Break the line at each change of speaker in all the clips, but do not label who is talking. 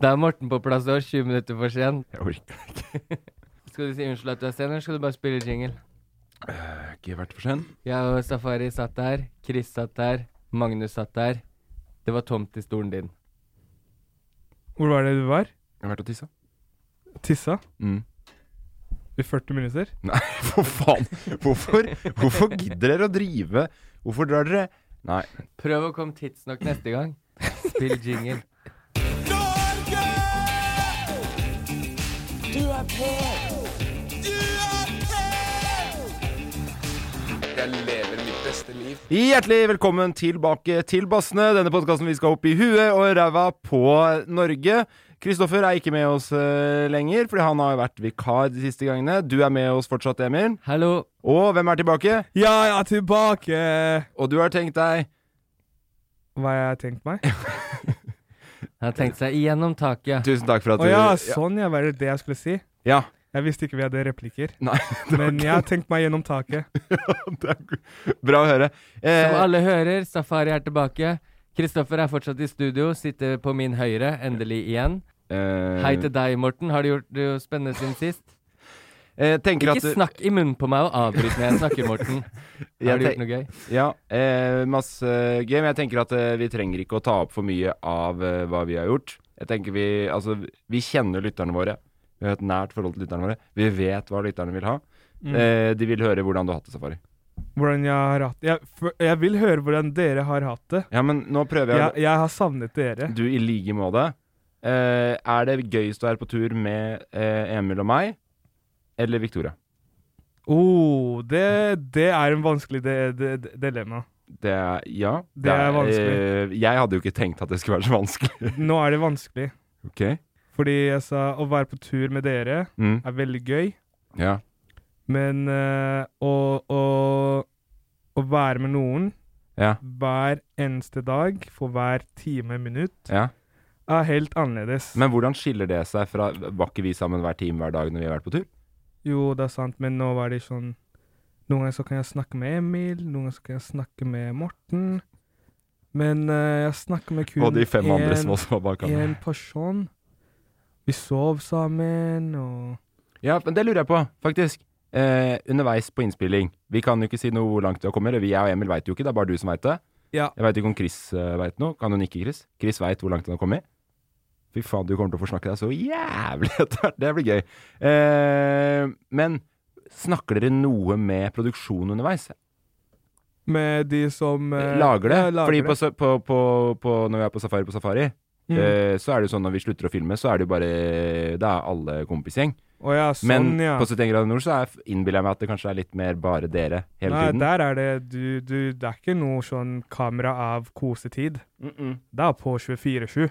Det er Morten på plass år, 20 minutter for sen. Skal du si unnskyld at du er sen, eller skal du bare spille jingle?
Eh, Ikke vært for sen.
Jeg og Safari satt der, Chris satt der, Magnus satt der. Det var tomt i stolen din.
Hvor var det du var?
Jeg har vært og tissa.
Tissa?
Mm.
I 40 minutter?
Nei, for faen! Hvorfor, hvorfor gidder dere å drive? Hvorfor drar dere Nei.
Prøv å komme tidsnok neste gang. Spill jingle.
er
Hjertelig velkommen tilbake til Bassene, denne podkasten vi skal opp i huet og ræva på Norge. Kristoffer er ikke med oss eh, lenger, fordi han har jo vært vikar de siste gangene. Du er med oss fortsatt, Emil.
Hallo.
Og hvem er tilbake?
Ja, ja, tilbake!
Og du har tenkt deg
Hva har jeg tenkt meg?
Han har tenkt seg igjennom taket.
Tusen takk for at
Å
du
ja, sånn ja, var det det jeg skulle si?
ja.
Jeg visste ikke vi hadde replikker.
Nei, det var
Men jeg har tenkt meg gjennom taket.
ikke det er Bra å høre.
Som
Eh,
alle hører, Safari er tilbake. Kristoffer er fortsatt i studio, sitter på min høyre, endelig igjen.
eh,
Hei til deg, Morten. Har du gjort det jo spennende siden sist?
eh, tenker
Ikke
at-
snakk i munnen på meg og avbryt når jeg snakker, Morten. Har du
Jeg tenk-
gjort noe gøy?
Ja, eh, masse gøy, men jeg tenker at eh, vi trenger ikke å ta opp for mye av eh, hva vi har gjort. Jeg tenker Vi altså, vi kjenner lytterne våre. Vi har et nært forhold til lytterne våre. Vi vet hva lytterne vil ha.
Mm.
Eh, de vil høre hvordan du har hatt det, Safari.
Hvordan jeg har hatt det. Jeg, for- jeg vil høre hvordan dere har hatt det.
Ja, men nå prøver
Jeg,
jeg.
jeg har savnet dere.
Du i like måte. Eh, er det gøyest å være på tur med eh, Emil og meg, eller Victoria?
Oh, det, det er en vanskelig de, de, de, dilemma.
Det er Ja.
Det er vanskelig.
eh, jeg hadde jo ikke tenkt at det skulle være så vanskelig.
Nå er det vanskelig.
ok.
Fordi jeg sa å være på tur med dere
Mm.
er veldig gøy,
Ja.
men eh, å, å, å være med noen
Ja.
hver eneste dag for hver time minutt
ja.
er helt annerledes.
Men hvordan skiller det seg fra Var ikke vi sammen hver time hver dag når vi har vært på tur?
Jo, det er sant, men nå var det sånn Noen ganger så kan jeg snakke med Emil, noen ganger så kan jeg snakke med Morten. Men eh, jeg snakker med kun
Og de fem andre
en-
som også var bak han.
en person. Vi sov sammen, og
Ja, men det lurer jeg på, faktisk. Eh, underveis på innspilling. Vi kan jo ikke si noe hvor langt du har kommet. eller Vi, jeg og Emil veit jo ikke, det er bare du som veit det.
Ja.
Jeg veit ikke om Chris uh, veit noe. Kan hun ikke, Chris? Chris veit hvor langt han har kommet. Fy faen, du kommer til å forsnakke deg så jævlig etter hvert. Det blir gøy. Eh, men snakker dere noe med produksjonen underveis?
Med de som eh,
Lager det?
ja, lager
Fordi
det.
På, sa- på, på, på, når vi er på safari på safari,
Mm.
eh, så er det jo sånn når vi slutter å filme, så er det jo bare Da er alle kompisgjeng.
Å ja, sånn,
Men
ja.
på 71 grader nord så er- innbiller jeg meg at det kanskje er litt mer bare dere hele
Nei,
tiden.
der er det du, du, Det er ikke noe sånn kamera av kosetid. Det er på 24-7.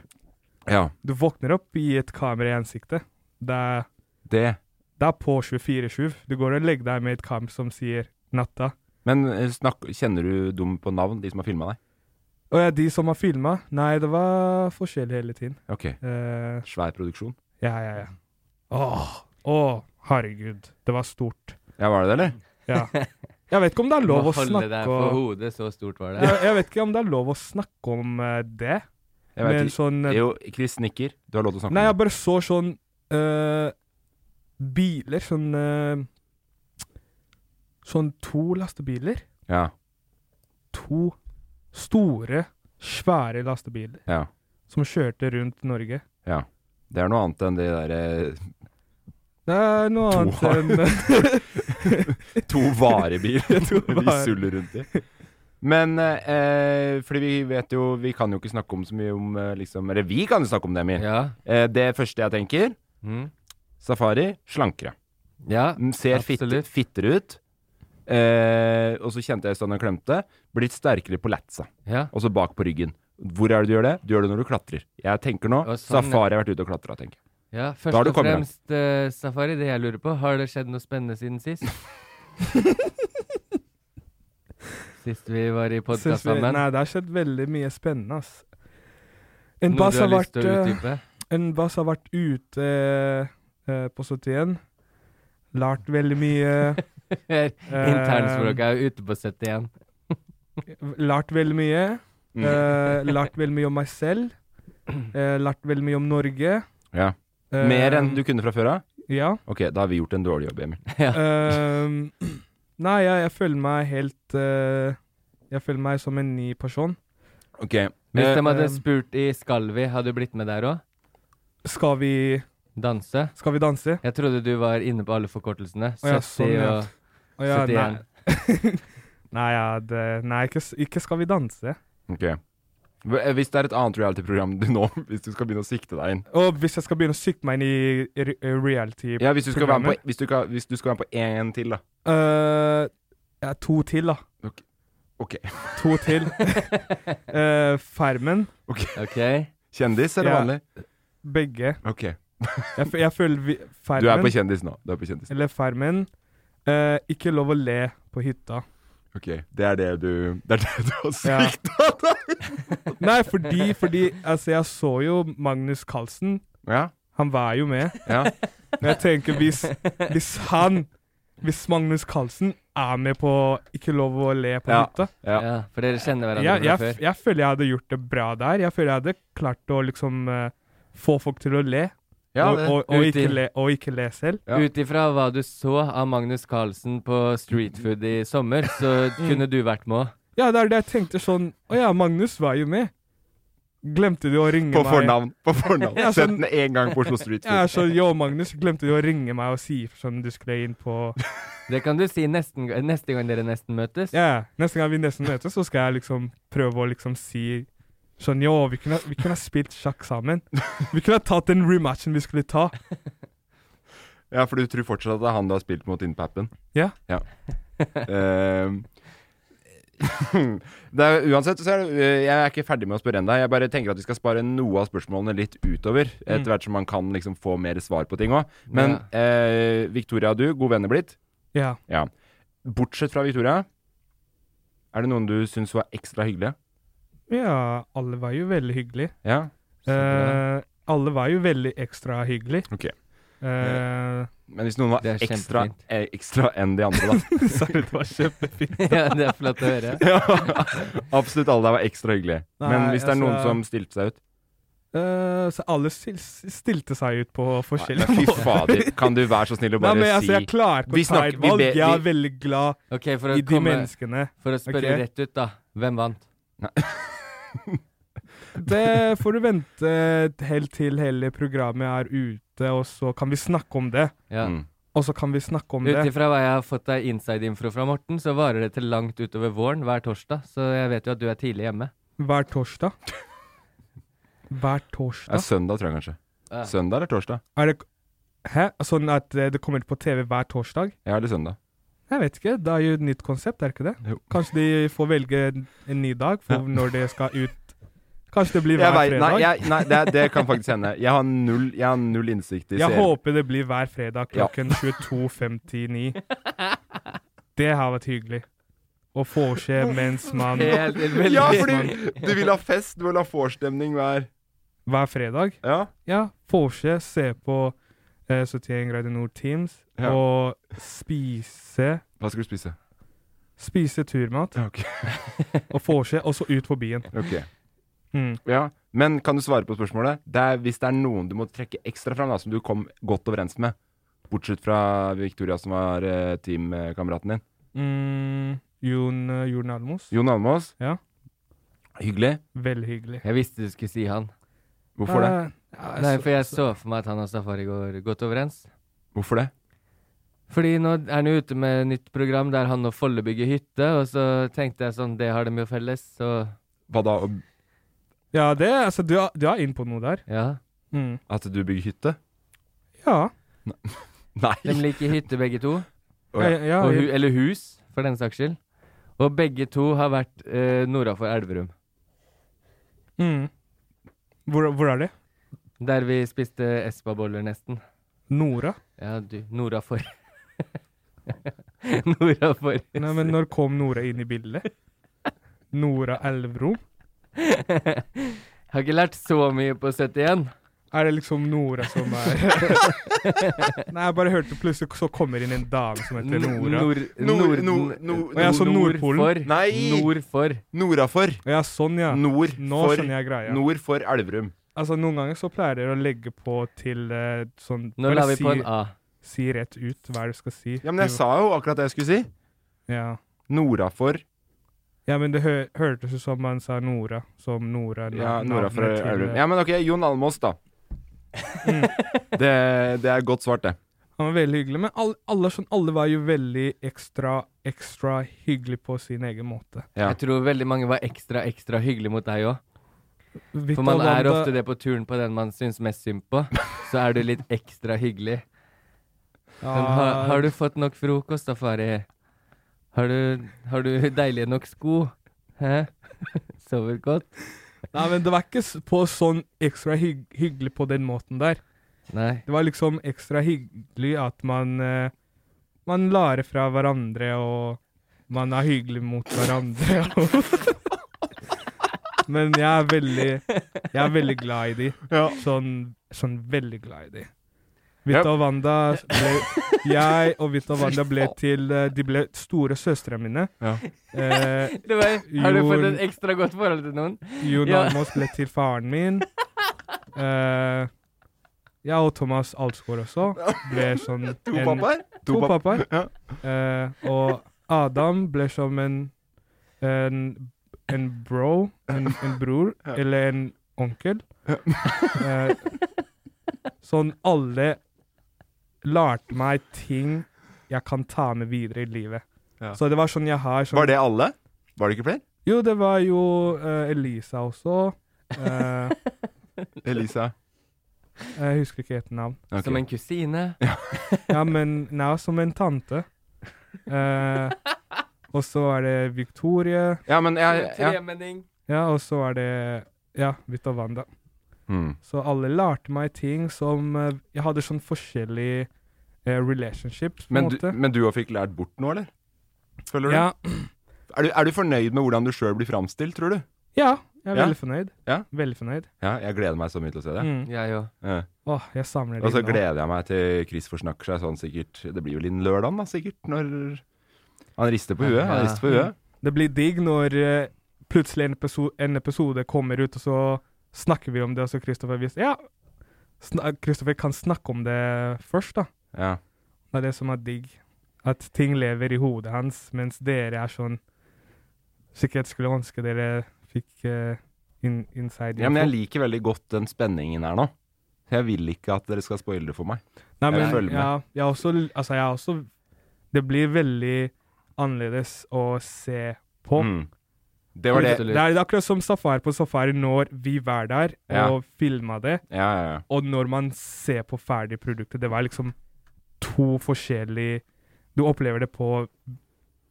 Ja,
Du våkner opp i et kamera i ansiktet. Det er
det.
Det er på 24-7. Du går og legger deg med et kamp som sier natta.
Men eh, snakk, kjenner du dem på navn, de som har filma deg?
Og ja, de som har filma? Nei, det var forskjell hele tiden.
Ok.
Eh,
Svær produksjon.
ja, ja, ja. Åh, åh, herregud. Det var stort.
Ja, var det det, eller?
Ja. Jeg vet ikke om det er lov å
Holde
snakke
deg på
om
hodet, så stort var det.
jeg, jeg vet ikke om det er lov å snakke om eh, det.
Jeg vet
Men
ikke.
sånn eh,
Jo, Chris nikker. Du har lov til å snakke
Nei, jeg
om det.
bare så sånn eh, Biler, sånn eh, Sånn to lastebiler.
Ja,
To store, svære lastebiler
ja.
som kjørte rundt Norge.
Det er noe annet enn de derre
Det er noe
To
annet
har-
enn
eh, to varebiler
To
vi
varebiler.
suller rundt i. Men eh, fordi vi vet jo Vi kan jo ikke snakke om så mye om eh, liksom Eller vi kan jo snakke om det, Emil.
Ja.
Eh, det første jeg tenker
Mm.
Safari slankere.
Ja.
Den ser fitte,
Absolutt.
fitter ut. Eh, og så kjente jeg sånn og klemte. Blitt sterkere på latsa.
ja.
Og så bak på ryggen. Hvor er det du gjør det? Du gjør det når du klatrer. Jeg tenker nå
Og sånn,
Safari har vært ute og klatra, tenker jeg.
Ja,
har
først
du
og
kommet
fremst, eh, Safari, det jeg lurer på, har det skjedd noe spennende siden sist? sist vi var i podkast
Synes vi-
sammen.
Nei, det har skjedd veldig mye spennende, ass. En
Noe
bass
du har
har,
lyst
vært,
til å
eh,
utdype?
en bass har vært ute eh, på 71. Lært veldig mye. eh,
Internspråket er jo ute på 71.
eh, Lært veldig mye.
Mm.
eh, lært veldig mye om meg selv. eh, lært veldig mye om Norge.
Ja.
eh,
Mer enn du kunne fra før av?
Ja.
Ok, da har vi gjort en dårlig jobb, Emil.
Ehm, nei, jeg, jeg føler meg helt eh, Jeg føler meg som en ny person.
Ok,
Hvis de
eh,
hadde
eh,
spurt i Skalvi, hadde du blitt med der òg?
Skal vi,
Danse?
skal vi danse?
Jeg trodde du var inne på alle forkortelsene.
Å ja,
70
sånn, ja.
og
Å ja, nei.
71.
Nei, ja, det, nei ikke, s- ikke skal vi danse.
ok. Hv- eh, Hvis det er et annet reality-program du nå Hvis du skal begynne å sikte deg inn
Og hvis jeg skal begynne å sikte meg inn i re- reality
Ja, hvis du skal være med på, hvis du kan, hvis du skal være med på en til, da.
Eh, ja, To til, da.
Ok.
To til. Eh, Farmen.
OK.
Kjendis eller
Ja.
vanlig?
Begge.
Ok.
Jeg, f- jeg føler vi, Farmen
Du er på kjendis nå. Du er på kjendis.
Eller Farmen. Eh, ikke lov å le på hytta.
Ok, Det er det du Det er det du har
Ja.
sikta deg?
Nei, fordi, fordi altså, jeg så jo Magnus Carlsen.
Ja.
Han var jo med.
ja.
Men jeg tenker hvis, hvis han Hvis Magnus Carlsen er med på Ikke lov å le på
Ja.
hytta
Ja.
Ja, for dere kjenner hverandre
jeg, jeg,
fra før.
jeg føler jeg hadde gjort det bra der. Jeg føler jeg hadde klart å liksom eh, få folk til å le,
ja
og,
det.
og, og,
Ut i-
ikke le og ikke le selv.
Ja.
Ut ifra hva du så av Magnus Carlsen på
Mm.
Street Food i sommer, så kunne du vært med òg.
Ja, det er det jeg tenkte sånn Å ja, Magnus var jo med. Glemte du å ringe
På
meg?
fornavn. På fornavn.
Ja,
Sett
sånn-
den én gang på Oslo Street
Ja, sånn-
Food.
så Jo, Magnus, glemte du å ringe meg og si ifra sånn du skulle inn på
Det kan du si nesten, neste gang dere nesten møtes.
Ja, neste gang vi nesten møtes, så skal jeg liksom prøve å liksom si sånn Jo, vi kunne, vi kunne ha spilt sjakk sammen. Vi kunne ha tatt den rematchen vi skulle ta.
Ja, for du tror fortsatt at det er han du har spilt mot innen pappen?
Ja.
ja. Ehm. det er, uansett så er det, øh, jeg er ikke ferdig med å spørre ennå. Jeg bare tenker at vi skal spare noe av spørsmålene litt utover.
Mm.
Etter hvert som man kan liksom få mer svar på ting òg. Men eh, Victoria og du, gode venner blitt.
Ja.
Ja. Bortsett fra Victoria, er det noen du syns var ekstra hyggelig?
Ja, alle var jo veldig hyggelige.
Ja.
Eh, alle var jo veldig ekstra hyggelig.
Ok.
Eh,
Men hvis noen var
Det er
ekstra,
kjempefint.
eh, ekstra enn de andre, da.
Sorry, det var kjempefint.
ja, det er flott å høre.
ja. Absolutt alle der var ekstra hyggelige.
Nei,
Men hvis det er noen
altså-
som stilte seg ut
Eh, så alle stil- stilte seg ut på
Nei,
forskjellige
Fy
måter.
fader, kan du være så snill å
Nei,
bare
men altså, jeg
si
klarer ikke
Vi
å ta
snakker-
et
vi
valg.
ber-
Jeg er
vi-
veldig glad
Ok, for å,
i de
komme,
menneskene.
for å spørre
Ok.
rett ut, da. Hvem vant?
Det får du vente helt til hele programmet er ute, og så kan vi snakke om det.
Ja.
Mm.
Og så kan vi snakke om
Ut
det.
ifra hva jeg har fått av inside-info fra Morten, så varer det til langt utover våren hver torsdag, så jeg vet jo at du er tidlig hjemme.
Hver torsdag. Hver
ja,
torsdag?
Søndag, tror jeg kanskje.
Ja.
Søndag eller torsdag?
Er det Hæ? Sånn at eh, det kommer ut på TV hver torsdag?
Ja, eller søndag.
Jeg vet ikke. Det er jo et nytt konsept, er det ikke det?
Jo.
Kanskje de får velge en, en ny dag for når det skal ut Kanskje det blir
Jeg
hver
vet, nei,
fredag? Jeg,
jeg, nei det, det kan faktisk hende. Jeg har null, jeg har null innsikt i seere.
håper det blir hver fredag
Ja.
klokken 22.59. Det har vært hyggelig. og vorse mens man
Helt veldig
Ja, fordi du vil ha fest, du vil ha vorstemning hver
Hver fredag.
Ja.
Ja, vorse, se på eh, 71 grader nord Teams
Ja.
og spise
Hva skal du spise?
Spise turmat
Ja, ok.
og vorse, og så ut på byen.
Ok.
Mm.
Ja, Men kan du svare på spørsmålet? Det er, hvis det er noen du må trekke ekstra fram, da, som du kom godt overens med, bortsett fra Victoria, som var eh, teamkameraten din.
Mm, Jon eh, Jon Almos.
Jon Almaas.
Ja.
Hyggelig.
Veldig hyggelig.
Jeg visste du skulle si han.
Hvorfor det?
Eh, ja,
Nei,
så-
for jeg så for meg at han og Safari går godt overens.
Hvorfor det?
Fordi nå er han jo ute med et nytt program der han og Folle bygger hytte, og så tenkte jeg sånn, det har de jo felles, så
Hva da? å-
Ja, det, altså, du, er- du er inne på noe der.
ja.
Mm.
At du bygger hytte?
Ja.
De
Nei.
liker hytte begge to,
Å, ja.
Ja, ja,
og hu
ja.
eller hus, for den saks skyld. Og begge to har vært eh, nordafor Elverum,
Mm. Hvor, hvor er det?
der vi spiste Espa-boller nesten.
Nora?
Ja, du, nordafor. nordafor.
Nei, men når kom Nora inn i bildet? Nora Elverum?
Jeg har ikke lært så mye på 71.
Er det liksom Nora som er Nei, jeg bare hørte plutselig så kommer inn en dame som heter Nora.
Nord,
Nord,
Norden-
nord, nord,
Å, ja, så
nord
Nordpolen.
for.
Nei!
Nord for.
Nordafor.
Ja, sånn, ja.
Nord
Nå
for
skjønner jeg greia.
Nord for Elverum.
Altså, noen ganger så pleier dere å legge på til eh, sånn
Nå la vi
si,
på en A.
si rett ut hva du skal si.
Ja, men jeg sa jo akkurat det jeg skulle si.
Ja.
Nordafor.
Ja, men det hø hørtes ut som man sa Nora, som Nora
Ja,
na-
nordafor
navnet til- eh,
Elverum. Ja, men ok, Jon Almås, da.
Mm.
Det, det er godt svart, det.
Han var veldig hyggelig, men alle, alle, sånn, alle var jo veldig ekstra, ekstra hyggelig på sin egen måte.
Ja.
Jeg tror veldig mange var ekstra, ekstra hyggelige mot deg òg.
Victor
For man er
Wanda-
ofte det på turen på den man syns mest synd på. Så er du litt ekstra hyggelig.
Ja,
Men har,
Ah.
har du fått nok frokost, da, Fari? Har du, har du deilige nok sko? Hæ? Sover godt?
Nei, men det var ikke s- på sånn ekstra hygg hyggelig på den måten der.
Nei.
Det var liksom ekstra hyggelig at man eh, Man lærer fra hverandre, og man er hyggelig mot hverandre. og- men jeg er veldig Jeg er veldig glad i de.
Ja.
Sånn, sånn veldig glad i de. Vita og Wanda ble Jeg og Vita og Wanda ble til eh, De ble store søstrene mine.
Ja.
Eh,
Det var, har du fått
Jon-
et ekstra godt forhold til noen?
Jon
Ja.
Almaas ble til faren min. Eh, ja, og Thomas Alsgaard også ble sånn
To
en-
pappaer?
To
pap-
pappaer.
Ja.
Eh, og Adam ble som en en, en bro, en, en bror, eller en onkel. Eh, sånn alle lærte meg ting jeg kan ta med videre i livet.
Ja.
Så det var sånn jeg har sånn
Var det alle? Var det ikke flere?
Jo, det var jo eh, Elisa også. Eh,
Elisa.
Jeg husker ikke et navn.
Ok.
Som en kusine?
Ja, men nei, som en tante. Eh, og så er det Victoria.
Ja, men jeg, jeg,
Tremenning?
Ja, og så er det ja, Vita Wanda.
Hmm.
Så alle lærte meg ting som eh, Jeg hadde sånn forskjellig eh, relationship, på
Men
en
du,
måte.
men du òg fikk lært bort noe, eller? Føler du?
Ja,
Er, du? er du fornøyd med hvordan du sjøl blir framstilt, tror du?
ja, jeg er
Ja?
veldig fornøyd.
Ja?
Veldig fornøyd.
Ja, jeg gleder meg så mye til å se det.
Mm.
Jeg òg.
Ja.
Åh, jeg savner
Og så
det
gleder jeg meg til Chris forsnakker seg sånn sikkert Det blir vel innen lørdagen, da, sikkert, når Han rister på huet. Han
Ja.
rister på
Mm.
huet.
Det blir digg når eh, plutselig en episode, en episode kommer ut, og så snakker vi om det, og så Kristoffer viser Ja! sna- Kristoffer kan snakke om det først, da.
Ja.
Det er det som er digg. At ting lever i hodet hans, mens dere er sånn Sikkert skulle ønske dere fikk eh, in, inside
ja, men jeg
info.
liker veldig godt den spenningen her nå. Jeg vil ikke at dere skal spoile det for meg.
Nei,
jeg
men,
følger med.
Ja, jeg er også, altså, jeg er også Det blir veldig annerledes å se på.
Mm. Det var det.
Absolutt.
Det er det er akkurat som Safari på Safari, når vi var der
Ja.
og filma det,
Ja, ja, ja.
og når man ser på ferdig produktet Det var liksom to forskjellige Du opplever det på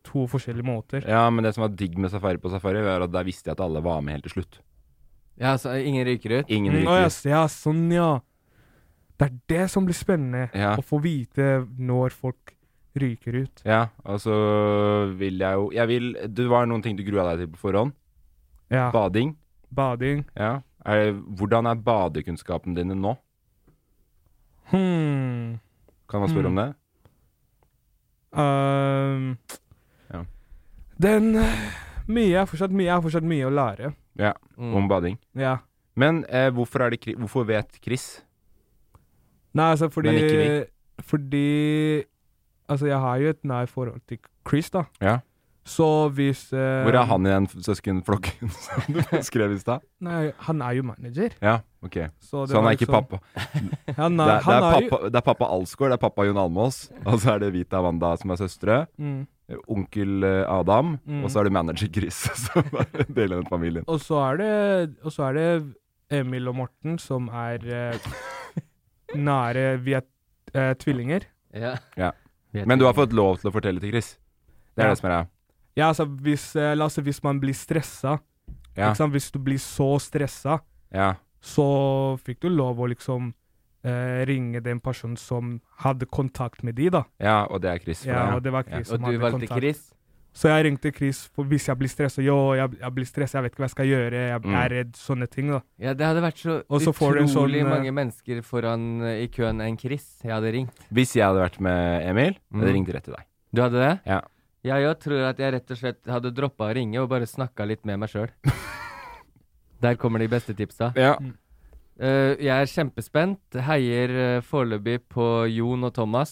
to forskjellige måter.
Ja, men det som var digg med Safari på Safari, var at der visste jeg at alle var med helt til slutt.
Ja, så ingen ryker ut?
Ingen
Mm, å, ja,
ryker.
s- ja, sånn, ja. Det er det som blir spennende,
Ja.
å få vite når folk ryker ut.
Ja, og så vil jeg jo Jeg vil Det var noen ting du grua deg til på forhånd.
Ja.
Bading.
Bading.
Ja. Er, hvordan er badekunnskapene dine nå?
Hmm.
Kan man spørre om
Mm.
det?
Ehm,
Ja.
Den mye er fortsatt mye er fortsatt mye å lære.
Ja,
Mm.
om bading.
Ja.
Men eh, hvorfor, er det, Kri- hvorfor vet Chris?
Nei, altså fordi
Men ikke
Fordi Altså, jeg har jo et nært forhold til Chris, da.
Ja.
Så hvis eh,
Hvor er han i den søskenflokken som du skrev i stad?
Nei, han er jo manager.
Ja, ok.
Så, det
Så han
var
er ikke
liksom-
pappa.
Han
Det
er,
er, det,
han
er
er jo,
pappa det er pappa Alsgaard, det er pappa Jon Almås, og så er det Vita Wanda som er søstre,
mm.
onkel eh, Adam,
Mm.
og så er det manager Chris som er en del av den familien.
Og så er det Og så er det Emil og Morten som er eh, nære Vi er eh, tvillinger.
Ja.
Ja.
Vet
Men du
ikke.
har fått lov til å fortelle til Chris. Det er
Ja.
det som er greia.
Ja, altså hvis, eh, la oss si hvis man blir stressa
Ja.
ikke sant? Hvis du blir så stressa,
Ja.
så fikk du lov å liksom eh, ringe den personen som hadde kontakt med de, da.
ja, og det er Chris for
Ja, og
deg.
det var Chris
Og
som
du
hadde
valgte
kontakt.
Chris?
Så jeg ringte Chris for hvis jeg blir stressa. Jo, jeg, jeg blir stressa, jeg vet ikke hva jeg skal gjøre, jeg
Mm.
er redd, sånne ting, da.
Ja, det hadde vært så
Og så får du en
utrolig
sånn, eh,
mange mennesker foran eh, i køen enn Chris jeg hadde ringt.
Ja. Hvis jeg hadde vært med Emil, hadde
Mm.
jeg ringt rett til deg.
Du hadde det?
Ja.
Ja, jeg tror at jeg rett og slett hadde droppa å ringe og bare snakka litt med meg sjøl. Der kommer de beste tipsa.
Ja.
Mm.
Eh, jeg er kjempespent. Heier eh, foreløpig på Jon og Thomas.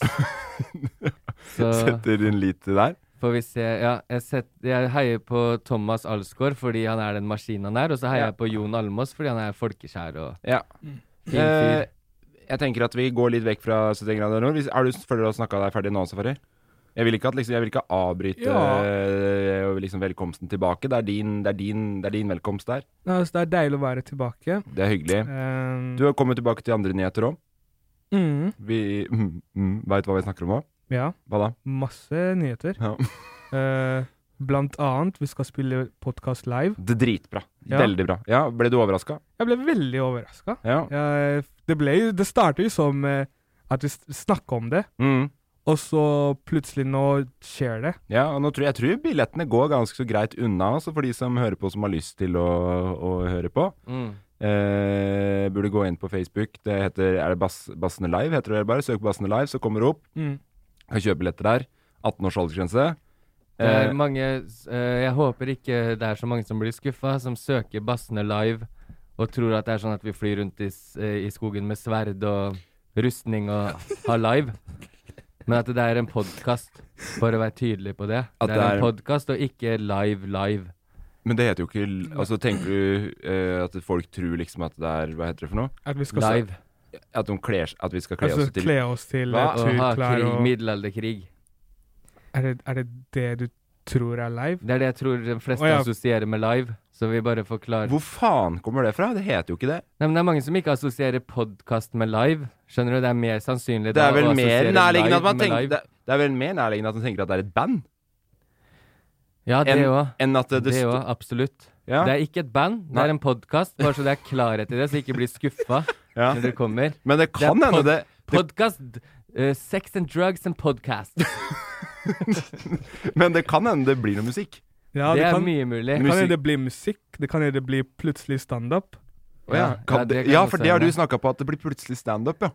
Så
Setter din lit til der.
får vi se. Ja, jeg, set, jeg heier på Thomas Alsgaard fordi han er den maskinen han er, og så heier
Ja.
jeg på Jon Almås fordi han er folkeskjær og
Ja.
Mm.
fin fyr.
Eh, jeg tenker at vi går litt vekk fra 71 grader nord. Hvis, er du, føler du har snakka deg ferdig nå, Safari? Jeg vil ikke, at, liksom, jeg vil ikke avbryte
Ja.
eh, liksom, velkomsten tilbake. Det er, din, det, er din, det er din velkomst der.
Nei, altså, det er deilig å være tilbake.
Det er hyggelig.
Um,
Du har kommet tilbake til andre nyheter òg.
mm,
Vi mm, mm, veit hva vi snakker om òg.
ja,
Hva da?
masse nyheter.
Ja.
Eh, blant annet, vi skal spille podkast live.
Det er dritbra.
Ja.
Veldig bra. Ja, Ble du overraska?
Jeg ble veldig overraska.
Ja.
Det, ble jo- det startet jo som eh, at vi s- snakket om det,
Mm.
og så plutselig nå skjer det.
Ja, og nå tror jeg, jeg tror billettene går ganske så greit unna også, for de som hører på som har lyst til å, å høre på.
Mm.
Eh, burde gå inn på Facebook. Det heter, er det Bass, Bassene Live, heter det bare. Søk på Bassene Live, så kommer det opp.
Mm.
Kan kjøpe billetter der. 18 års aldersgrense.
Det er
Eh,
mange s- eh, Jeg håper ikke det er så mange som blir skuffa, som søker bassene live og tror at det er sånn at vi flyr rundt i, s- eh, i skogen med sverd og rustning og har live. Men at det er en podkast, bare vær tydelig på det.
At
det
det
er
er-
en podkast og ikke live live.
men det heter jo ikke l- Altså, tenker du eh, at folk tror liksom at det er Hva heter det for noe?
At vi skal s-
Live.
At, de kler, at vi skal kle
altså,
oss til
kle oss til
Hva?
eh,
Å ha
turklær
krig,
og
middelalderkrig.
er det, er det det du tror er live?
Det er det jeg tror de fleste
Å, ja.
assosierer med live. Så vi bare forklarer
Hvor faen kommer det fra? Det heter jo ikke det.
Nei, men Det er mange som ikke assosierer podkast med live. Skjønner du? Det er mer sannsynlig
Det
da
er vel
å
mer
assosiere
nærliggende
live
at man
med
tenker
live.
det, det er vel mer nærliggende at man tenker at det er et band,
Ja, det
enn
òg.
enn at det,
Det
sto-
òg, absolutt.
Ja.
Det er ikke et band, det
Nei.
er en podkast. Bare så det er klarhet i det, så jeg ikke blir skuffa
Ja.
når dere kommer.
Men det kan
Det er
hende
pod-
det, det
Podkast! sex and drugs and podcast.
Men det kan hende det blir noe musikk.
Ja,
det
det
er
kan,
mye mulig.
kan jo det bli musikk, det kan jo det bli plutselig standup.
Å ja.
Ja,
Kan
det
det,
kan
ja,
også
for det har du
hende.
snakka på, at det blir plutselig standup, ja.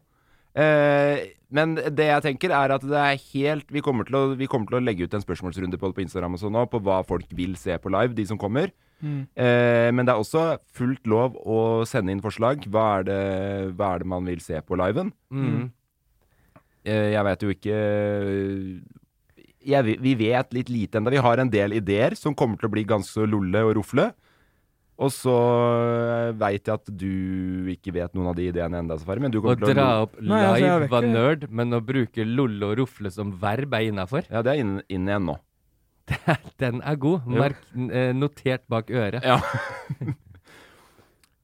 Eh, men det jeg tenker, er at det er helt Vi kommer til å, vi kommer til å legge ut en spørsmålsrunde på, på Instagram og sånn nå, på hva folk vil se på live, de som kommer. Eh, men det er også fullt lov å sende inn forslag. Hva er det, hva er det man vil se på liven?
Mm.
Eh, jeg vet jo ikke eh, jeg, vi- Vi vet litt lite ennå. Vi har en del ideer som kommer til å bli ganske så lolle og rofle. Og så veit jeg at du ikke vet noen av de ideene ennå, Safari. Men du
Å
kommer til å
dra opp
Nei, altså, jeg
live
vet
var
ikke.
nerd, men å bruke lolle og rofle som verb er innafor.
Ja, det er inn, inn igjen nå.
Den er god. Merk, eh, notert bak øret.
Ja.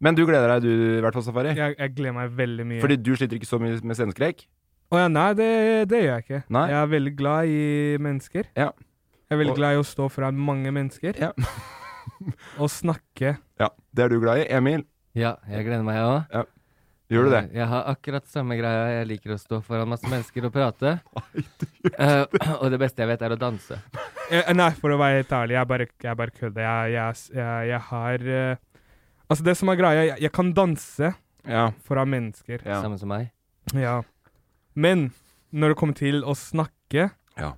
men du gleder deg, du i hvert fall, Safari.
Jeg, jeg gleder meg veldig mye.
Fordi du sliter ikke så mye med sceneskrekk.
Å ja, nei, det, det gjør jeg ikke.
Nei.
Jeg er veldig glad i mennesker.
Ja.
Jeg er veldig
Og-
glad i å stå foran mange mennesker
Ja.
og snakke.
ja. Det er du glad i. Emil?
Ja, jeg gleder meg òg.
Ja. Gjør du det?
Jeg har akkurat samme greia. Jeg liker å stå foran masse mennesker og prate. Eh, og det beste jeg vet, er å danse.
Eh, Nei, for å være helt ærlig, jeg bare, jeg bare kødder. Jeg, jeg, jeg, jeg har eh, Altså, det som er greia, jeg, jeg kan danse
Ja.
foran mennesker.
ja.
Samme som meg.
Ja. Men når det kommer til å snakke,
Ja.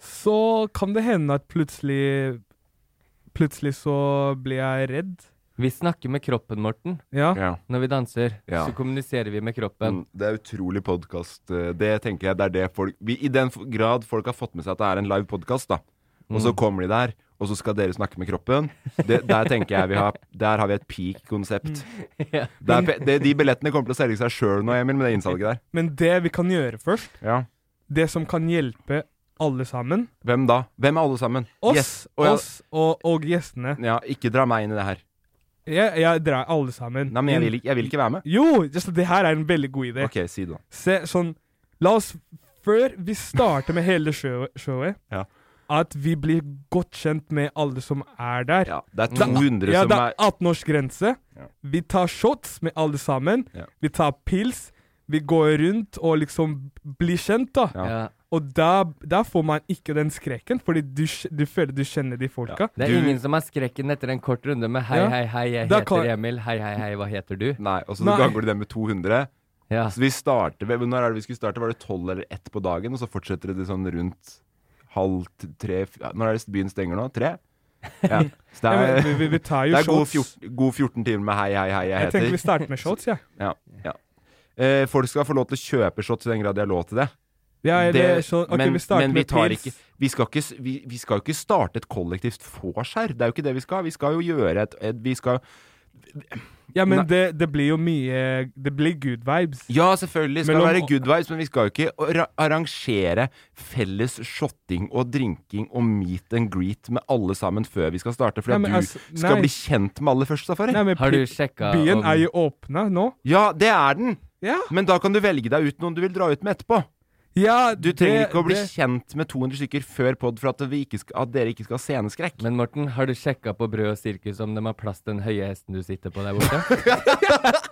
så kan det hende at plutselig Plutselig så blir jeg redd.
Vi snakker med kroppen, Morten.
Ja.
ja.
Når vi danser,
Ja.
så kommuniserer vi med kroppen.
Mm.
Men Mm, det er utrolig podkast. Det tenker jeg det er det folk vi, I den f- grad folk har fått med seg at det er en live podkast, da. Og så kommer de der, og så skal dere snakke med kroppen. Det, der tenker jeg vi har Der har vi et peak konsept.
Ja.
Det er pe- det, de billettene kommer til å selge seg sjøl nå, Emil, med det innsalget der.
Men det vi kan gjøre først,
Ja.
det som kan hjelpe alle sammen,
Hvem da? Hvem er alle sammen?
oss,
Yes. Å, ja.
oss og, og gjestene
Ja, ikke dra meg inn i det her.
Jeg, jeg drar alle sammen.
Nei, men jeg vil, ikke- jeg vil ikke være med.
Jo! Just, det her er en veldig god idé.
OK, si det, da.
Se, sånn La oss, før vi starter med hele showet, showet
Ja.
at vi blir godt kjent med alle som er der.
Ja, det er
Det er-
200
ja,
som
det
er
er 18-årsgrense.
Ja.
Vi tar shots med alle sammen.
Ja.
Vi tar pils. Vi går rundt og liksom blir kjent, da.
Ja.
Ja.
Og da, da får man ikke den skrekken, fordi du, kj- du føler du kjenner de folka.
Det er
Du-
ingen som har skrekken etter en kort runde med hei,
Ja.
hei, hei, jeg
Da
heter
kan-
Emil, hei, hei, hei, hva heter du?
Nei, og så
Nei.
ganger du det med 200.
Ja.
Så vi starter ved, Når er det vi skulle starte? Var det tolv eller ett på dagen? Og så fortsetter det sånn rundt halv t- tre f- ja, Når er det byen stenger nå? Tre? Ja. Så det
Ja, men
er,
vi, vi, vi tar jo
det er
shots.
god, fjort, god 14 timer med hei, hei, hei, jeg
jeg tenker vi
heter.
starter med shots, jeg.
Ja, ja. Eh, folk skal få lov til å kjøpe shots i den grad de har lov til det.
Ja,
Det-
eller så, ok,
men,
vi starter
men vi
med
tar
pils.
ikke vi skal, ikke s- vi, vi skal jo ikke starte et kollektivt vorskjær. Det er jo ikke det vi skal. Vi skal jo gjøre et, et Vi skal
Ja,
Nei.
men det, det blir jo mye Det blir good vibes.
Ja, selvfølgelig skal
Mellom-
det være good vibes, men vi skal jo ikke arra- arrangere felles shotting og drinking og meet and greet med alle sammen før vi skal starte,
Nei,
fordi at
men
du
altså,
skal
nei.
bli kjent med alle først, Safari.
Nei, men
Har du
pi-
sjekka
Byen
om-
er jo åpna nå.
Ja, det er den,
Ja,
men da kan du velge deg ut noen du vil dra ut med etterpå.
ja
Du trenger
det-
ikke å bli
det-
kjent med 200 stykker før pod for at, vi ikke skal, at dere ikke skal ha sceneskrekk.
Men Morten, har du sjekka på Brød og sirkus om de har plass til den høye hesten du sitter på der borte?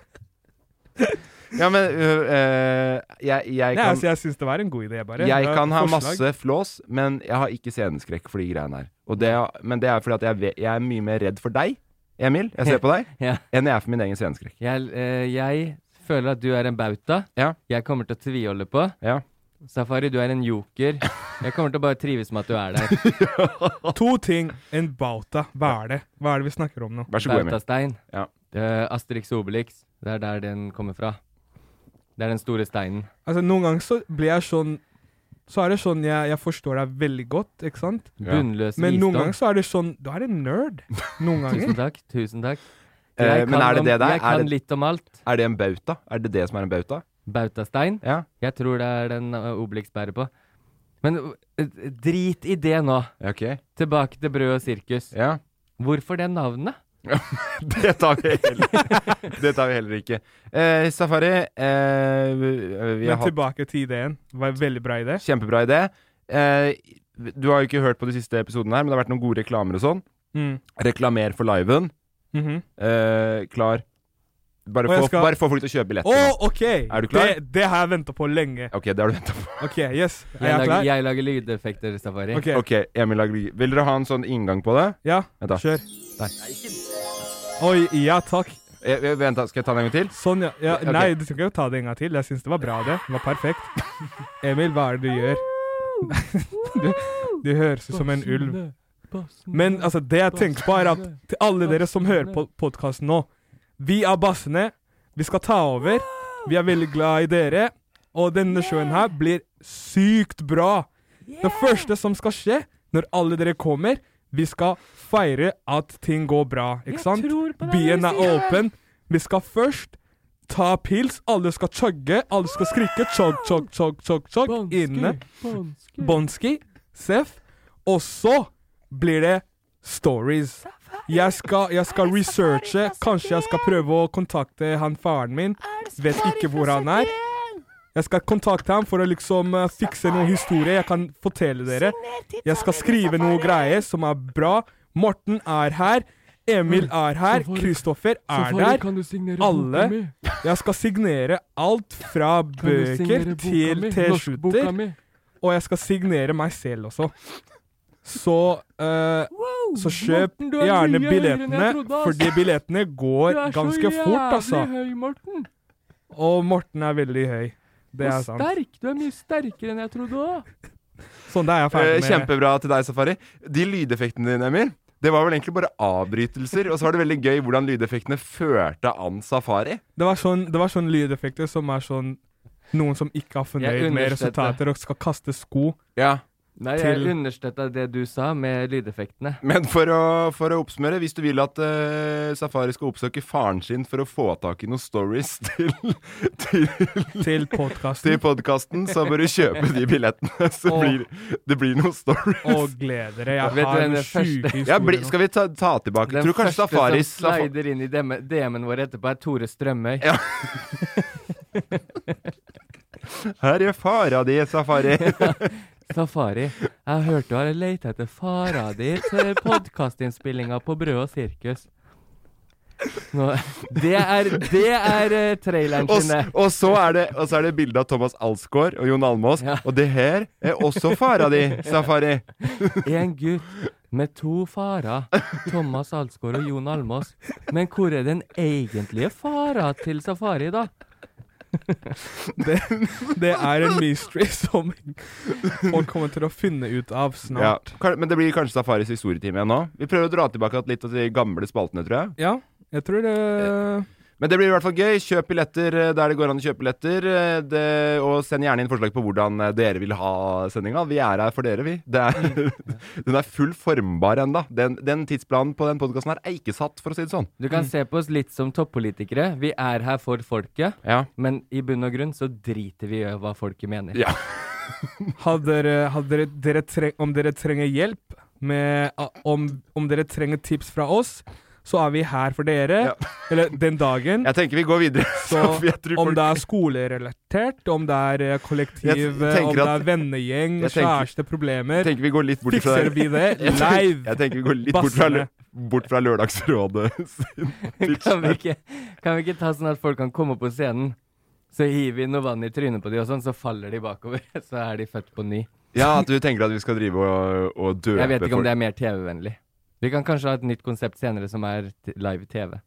Ja, men øh, øh, jeg, jeg
Nei,
kan
altså, jeg syns det var en god idé, bare.
Jeg
Det var
kan ha
forslag.
masse flås, men jeg har ikke sceneskrekk for de greiene her. Og det, er- men det er fordi at jeg, vet, jeg er mye mer redd for deg, Emil, jeg ser på deg,
ja.
enn jeg er for min egen sceneskrekk.
jeg, eh, jeg føler at du er en bauta.
Ja.
Jeg kommer til å tviholde på.
Ja.
Safari, du er en joker. Jeg kommer til å bare trives med at du er der.
To ting. En bauta. Hva er det? Hva er det vi snakker om nå?
Vær så god, Emil.
Bautastein.
Ja.
Eh, Asterix og Obelix. Det er der den kommer fra. Det er den store steinen.
Altså, noen ganger så blir jeg sånn Så er det sånn jeg, jeg forstår deg veldig godt, ikke sant?
Bunnløs
Men
visdom.
noen ganger så er det sånn Du er en nerd. Noen ganger.
Tusen takk. Tusen takk.
Eh,
Jeg
men
kan
er det
om-
det der?
Jeg kan
Er det,
litt om alt.
er det en bauta? Er det det som er en bauta?
Bautastein.
Ja.
Jeg tror det er den uh, Obelix bærer på. Men uh, drit i det nå.
Ja, Ok.
Tilbake til Brød og sirkus.
Ja.
Hvorfor det navnet?
Det tar vi heller, det tar vi heller ikke. Eh, Safari, eh, vi, vi har
Men
hatt
tilbake til ideen. Det var en veldig bra idé.
kjempebra idé. Eh, du har jo ikke hørt på de siste episodene her, men det har vært noen gode reklamer og sånn.
Mm.
Reklamer for liven.
Mhm.
Eh, klar. Bare
Og jeg
få,
skal-
bare få folk til å kjøpe
Å,
billetter. nå.
OK!
Er du klar?
Det, det har jeg venta på lenge.
Ok, det har du venta på.
OK, yes.
Jeg
Er jeg
lager,
klar?
jeg lager lydeffekter, Safari.
OK,
Ok, Emil lager lyd. Vil dere ha en sånn inngang på det?
ja.
Vent, da.
Kjør. Oi, ja takk.
Eh, eh, vent da, Skal jeg ta den en gang til?
Sånn, ja. ja
Ok.
Nei, du trenger ikke ta det en gang til. Jeg syns det var bra, det. Det var perfekt. Emil, hva er det du gjør? Du, du høres ut som en ulv. Men altså, det jeg tenker på, er at til alle dere som hører på podkasten nå Vi er bassene. Vi skal ta over. Vi er veldig glad i dere. Og denne showen her blir sykt bra. Det første som skal skje når alle dere kommer, vi skal feire at ting går bra, ikke sant? Byen er åpen. Vi skal først ta pils. Alle skal chugge. Alle skal skrike chug, chug, chug, chug, chug inne. Mm. Bonski, Sef. Og så blir det stories. Jeg skal, jeg skal researche. Kanskje jeg skal prøve å kontakte han faren min. Vet ikke hvor han er. Jeg skal kontakte ham for å liksom eh, fikse noe historie jeg kan fortelle dere. Jeg skal skrive noe greier som er bra. Morten er her. Emil er her. Kristoffer er der. Alle Jeg skal signere alt fra bøker til T-skjorter. Og jeg skal signere meg selv også. Så eh, Så kjøp gjerne billettene, fordi billettene går ganske fort,
Du er så
altså.
jævlig høy, Morten.
Og Morten er veldig høy. Det er
Og
sant.
sterk. Du er mye sterkere enn jeg trodde òg.
Sånn, da er jeg
Eh,
ferdig med
Kjempebra til deg, Safari. De lydeffektene dine, Emil, det var vel egentlig bare avbrytelser. Og så var det veldig gøy hvordan lydeffektene førte an Safari.
Det var sånn, det var sånn lydeffekter som er sånn Noen som ikke er fornøyd
Jeg
med
understøtter.
resultater og skal kaste sko.
Ja.
Nei,
jeg
jeg understøtta det du sa med lydeffektene.
Men for å, for å oppsummere, hvis du vil at eh, Safari skal oppsøke faren sin for å få tak i noen stories til, til,
til
til
podkasten
podkasten, så bør du kjøpe de billettene. Så
Og-
blir, det blir noen stories.
og glede dere. Jeg
Vet du
har
den
en
første-
sjuke historie.
ja, bli, skal vi ta, ta tilbake
Den
Tror du kanskje
første
Safari
som slider inn i DM-en vår etterpå, er Tore Strømøy.
Ja. Her er fara di, Safari.
Safari, jeg hørte du har leita etter fara di til podkastinnspillinga på Brød og sirkus. Nå, det er, det er eh, traileren
Og,
sin,
s-
det.
og så er det, og så er det bilde av Thomas Alsgaard og Jon Almås.
Ja.
Og det her er også fara di, Safari.
En gutt med to farer, Thomas Alsgaard og Jon Almås. Men hvor er den egentlige fara til Safari, da?
Det er en mystery som folk kommer til å finne ut av
Ja.
snart.
kan- Men det blir kanskje Safaris historietime igjen nå. Vi prøver å dra tilbake at litt av de gamle spaltene, tror jeg.
Ja, jeg tror det
Eh,
Men det blir i hvert fall gøy. Kjøp billetter eh, der det går an å kjøpe billetter. eh, Det, og send gjerne inn forslag på hvordan eh, dere vil ha sendinga. Vi er her for dere, vi. Det er,
Mm.
den er full formbar ennå. Den, den tidsplanen på den podkasten her er ikke satt, for å si det sånn.
Du kan se på oss litt som toppolitikere. Vi er her for folket,
Ja.
men i bunn og grunn så driter vi i hva folket mener.
ja.
Hadde dere, hadde dere, dere tre, Om dere trenger hjelp med a- om, om dere trenger tips fra oss, så er vi her for dere.
Ja.
Eller den dagen.
Jeg tenker vi går videre.
Så
for jeg tror
om
folk-
det er skolerelatert, om det er eh, kollektiv,
Jeg
eh, om
tenker
det
at-
er vennegjeng,
Jeg tenker- Jeg
kjæresteproblemer,
tenker vi går litt bort fra
fikser vi det
Jeg tenker-
live.
Jeg tenker vi går litt bort fra, lø-
Bassene.
bort fra Lørdagsrådet sin
Kan vi, ikke, kan vi ikke ta sånn at folk kan komme på scenen, så hiver vi noe vann i trynet på de og sånn, så faller de bakover. Så er de født på ny.
Ja, at du tenker at vi skal drive og, og døpe
Jeg vet ikke om det er mer TV-vennlig. Vi kan kanskje ha et nytt konsept senere som er t- live TV.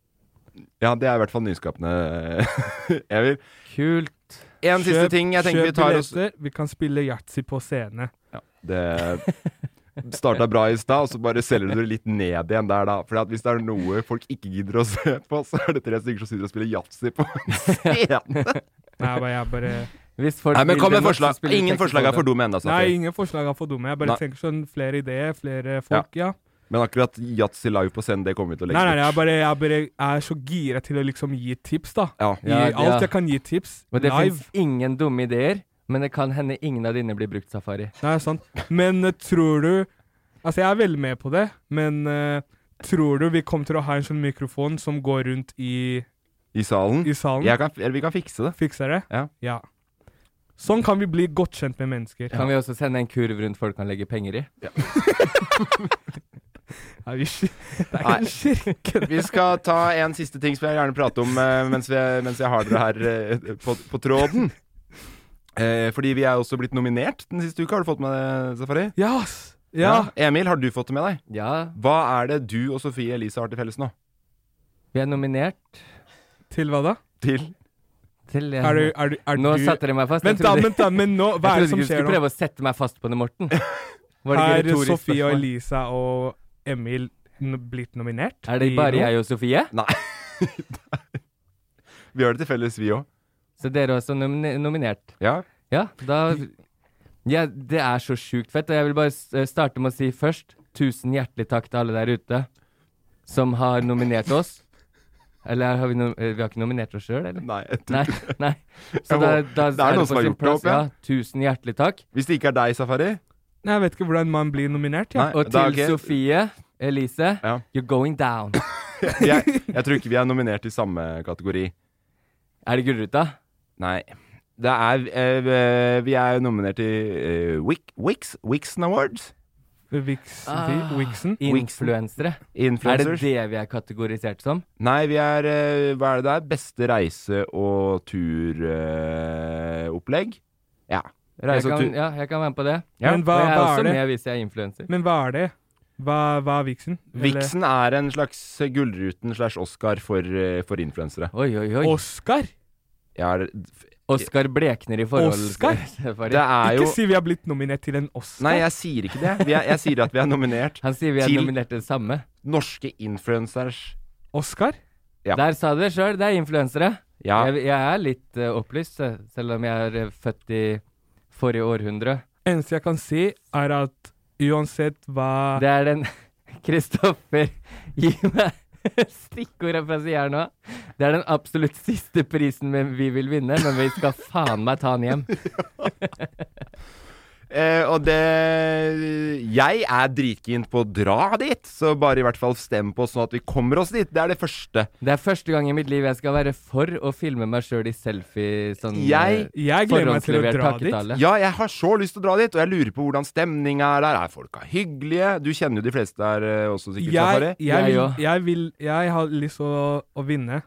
Ja, det er i hvert fall nyskapende. Emil.
Kult.
En siste ting jeg tenker vi tar oss
billetter. Vi kan spille yatzy på scene.
Det starta bra i stad, og så bare selger du det litt ned igjen der, da. For hvis det er noe folk ikke gidder å se på, så er det tre stykker som sitter og spiller yatzy på en scene.
Nei, men jeg bare
Hvis folk
Nei, men
vil
kom med
det nok, så
forslag.
spiller vi
Ingen
Texas
forslag er for
Hold'em.
dumme ennå,
Nei,
Safi.
ingen forslag er for dumme. Jeg bare
Nei.
tenker sånn flere ideer, flere folk, ja.
Men akkurat yatzy live på scenen, det kommer vi til å
Nei,
legge
nei, nei, jeg bare, jeg bare er så gira til å liksom gi tips, da.
Ja.
Gi
Ja, ja.
alt jeg kan gi tips.
Og det
Live.
fins ingen dumme ideer, men det kan hende ingen av dine blir brukt, Safari.
Nei, sant. Men eh, tror du Altså, jeg er veldig med på det, men eh, tror du vi kommer til å ha en sånn mikrofon som går rundt i,
I salen.
i salen?
Jeg kan, eller vi kan fikse det.
Fikser det?
Ja.
Sånn kan vi bli godt kjent med mennesker.
Kan vi også sende en kurv rundt folk kan legge penger i?
Er vi, sk- det er ikke en kirke.
Vi skal ta en siste ting som jeg gjerne prater om eh, mens, vi, mens jeg har dere her eh, på, på tråden. Eh, fordi vi er også blitt nominert den siste uka. Har du fått med det, Safari?
Ja, ass! Ja.
Emil, har du fått det med deg?
Ja,
Hva er det du og Sofie Elise har til felles nå?
vi er nominert
Til hva da?
Til?
til
Er du, er du, er
Nå
du
satte dere meg fast.
Vent,
jeg
da,
trodde-
vent, da, men nå Hva er det
jeg trodde
som
ikke du
skjer
skulle
nå?
prøve å sette meg fast på det, Morten. Var det
Er
ikke retorisk
Sofie og
spørsmål?
Elisa og Emil n blitt nominert?
Er det
i
bare
noe?
jeg og Sofie?
Nei. vi har det til felles, vi òg.
Så dere er også nomine- nominert?
Ja.
Ja, da ja, Det er så sjukt fett, og jeg vil bare s- eh, starte med å si først tusen hjertelig takk til alle der ute som har nominert oss. Eller har vi, no eh, vi har ikke nominert oss sjøl, eller?
Nei. jeg tror-
Nei. nei. Så
Jeg
da,
må-
da
det er noen
på
som har
sin
gjort det,
plass,
håper jeg.
Ja, tusen hjertelig takk.
Hvis det ikke er deg, Safari
Nei, Jeg vet ikke hvordan man blir nominert, ja.
Nei,
Og
da er
til
ikke-
Sofie Elise,
Ja.
you're going down.
jeg, jeg tror ikke vi er nominert i samme kategori.
Er det Gullruta?
Nei. Det eh, er eh, Vi er nominert i eh, Wik, Wix, Wixen Awards.
Vix-
Ah.
Vixen.
Influensere. Er det
Influencers?
det vi er kategorisert som?
Nei, vi er eh, Hva er det der? Beste reise- og turopplegg? ja.
Jeg
Reise og
kan,
tur.
ja, jeg kan være med på det.
Ja.
Men hva,
og jeg er
hva
også
er det?
med hvis jeg er influenser.
Men hva er det? Hva, hva er Vixen? Eller-
Vixen er en slags Gullruten slash Oscar for, eh, for influensere.
Oi, oi, oi.
Oscar?
Jeg er-
Oskar blekner i forhold
Oscar?
til Farid.
Det er jo
Ikke si vi har blitt nominert til en Oscar.
Nei, jeg sier ikke det. Vi er, jeg sier at vi er nominert.
Han sier vi er
Til-
nominert til det samme.
Norske influencers.
Oscar?
Ja.
Der sa du det sjøl, det er influensere.
Ja.
Jeg, jeg er litt eh, opplyst, eh, selv om jeg er eh, født i forrige århundre.
Eneste jeg kan si, er at uansett hva
Det er den Kristoffer, gi meg stikkordet fra siden her nå. Det er den absolutt siste prisen vi- vi vil vinne, men vi skal faen meg ta den hjem.
Eh, og det Jeg er dritkeen på å dra dit, så bare i hvert fall stem på oss sånn at vi kommer oss dit. Det er det første.
Det er første gang i mitt liv jeg skal være for å filme meg sjøl i selfie. Sånn,
Jeg-
eh,
Jeg gleder meg til å
forhåndslevert
dra dit.
takketale.
Ja, jeg har så lyst til å dra dit, og jeg lurer på hvordan stemninga er der. Er folka hyggelige? Du kjenner jo de fleste der eh, også, sikkert,
Jeg,
Safari.
jeg,
Jeg
vil,
òg.
jeg, vil, jeg har lyst til å, å vinne.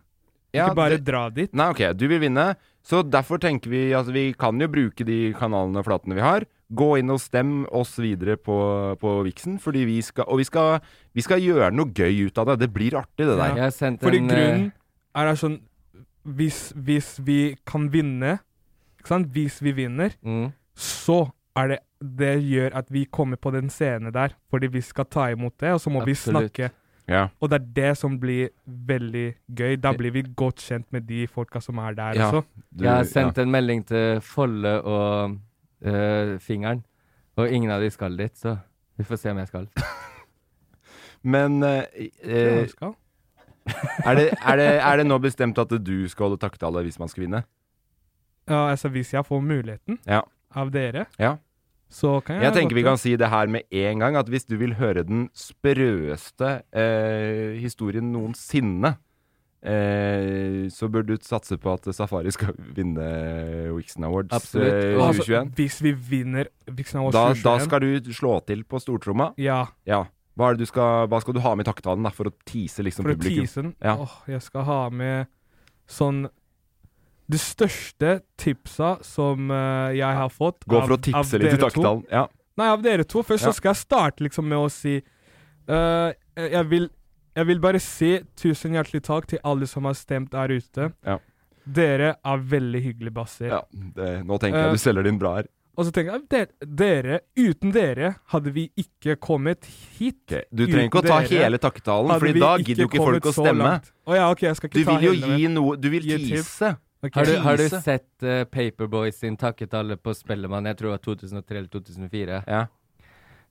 Ja,
Ikke bare
det-
dra dit.
Nei, ok, du vil vinne. Så derfor tenker vi at vi kan jo bruke de kanalene og flatene vi har. Gå inn og stem oss videre på, på Vixen, fordi vi skal Og vi skal, vi skal gjøre noe gøy ut av det. Det blir artig, det der.
Jeg har sendt
Fordi
en, eh,
grunnen er at sånn hvis, hvis vi kan vinne, ikke sant? Hvis vi vinner,
mm.
så er det det gjør at vi kommer på den scenen der, fordi vi skal ta imot det, og så må
Absolutt.
vi snakke.
Ja.
Og det er det som blir veldig gøy. Da blir vi godt kjent med de folka som er der
Ja.
også.
Du-
jeg har
ja.
sendt en melding til Folle og eh, Fingeren, og ingen av de skal dit, så vi får se om jeg skal.
Men eh, eh,
Skal.
er, det, er, det, er det nå bestemt at du skal holde takketale hvis man skal vinne?
Ja, altså hvis jeg får muligheten
Ja.
av dere,
Ja.
så kan jeg
Jeg tenker
godt
vi
gjøre-
kan si det her med en gang, at hvis du vil høre den sprøeste eh, historien noensinne, eh, så bør du satse på at Safari skal vinne Wixen Awards
Absolutt.
eh,
Og
altså,
2021.
Hvis vi vinner Vixen Awards
Da, da
2021,
skal du slå til på stortromma.
Ja,
Ja. Hva, er det du skal, hva skal du ha med i takketalen da, for å tease liksom,
for å
publikum?
tease den.
Ja.
Åh, jeg skal ha med sånn Det største tipsa som eh, jeg har fått
Gå for
av-
å
av
tipse litt
dere
i
to.
takketalen. Ja.
Nei, av dere to. Først
Ja.
så skal jeg starte liksom med å si eh, jeg, vil, jeg vil bare si tusen hjertelig takk til alle som har stemt der ute.
Ja.
Dere er veldig hyggelige basser.
Ja, det, nå tenker
Eh,
jeg du selger din bra her.
Og så tenker jeg dere, dere Uten dere hadde vi ikke kommet hit.
Ok, Du trenger ikke å
uten
ta
dere
hele takketalen,
Hadde
Fordi
vi
da gidder jo ikke folk å
kommet så
stemme.
langt. Å ja, ok, jeg skal
Du
ikke ta
vil jo
hele,
gi noe Du vil
Gi et tips.
tease.
Ok.
Har du, har du
Krise.
sett eh, Paperboy sin takketale på Spellemann, jeg tror det var 2003 eller 2004?
Ja.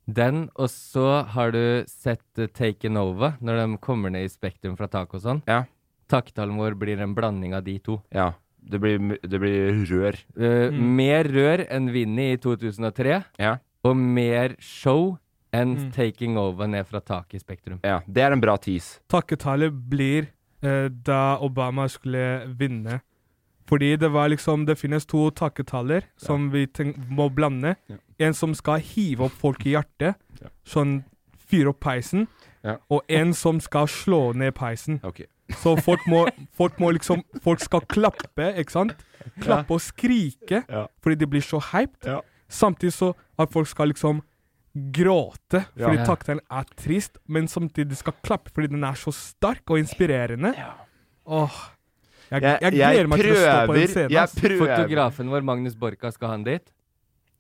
Den, og så har du sett eh, Taken Over, når de kommer ned i Spektrum fra tak og sånn.
Ja.
Takketalen vår blir en blanding av de to.
Ja. Det blir, det blir rør.
Eh,
Mm.
Mer rør enn Vinny i 2003,
Ja.
og mer show enn
Mm.
Taking Over ned fra taket i Spektrum.
ja. Det er en bra tease.
Takketallet blir eh, da Obama skulle vinne. Fordi det var liksom Det finnes to takketaller som vi tenk, må blande. En som skal hive opp folk i hjertet, sånn fyre opp peisen.
Ja.
Og en som skal slå ned peisen.
Ok.
Så folk må, folk må liksom Folk skal klappe, ikke sant? Klappe og skrike
Ja.
fordi de blir så hyped.
Ja.
Samtidig så at folk skal liksom gråte fordi
Ja.
takketalen er trist, men samtidig skal klappe fordi den er så sterk og inspirerende. Åh. Jeg, jeg, gleder meg til å stå på den scenen.
Jeg
ass.
prøver
Fotografen vår, Magnus Borka, skal han dit.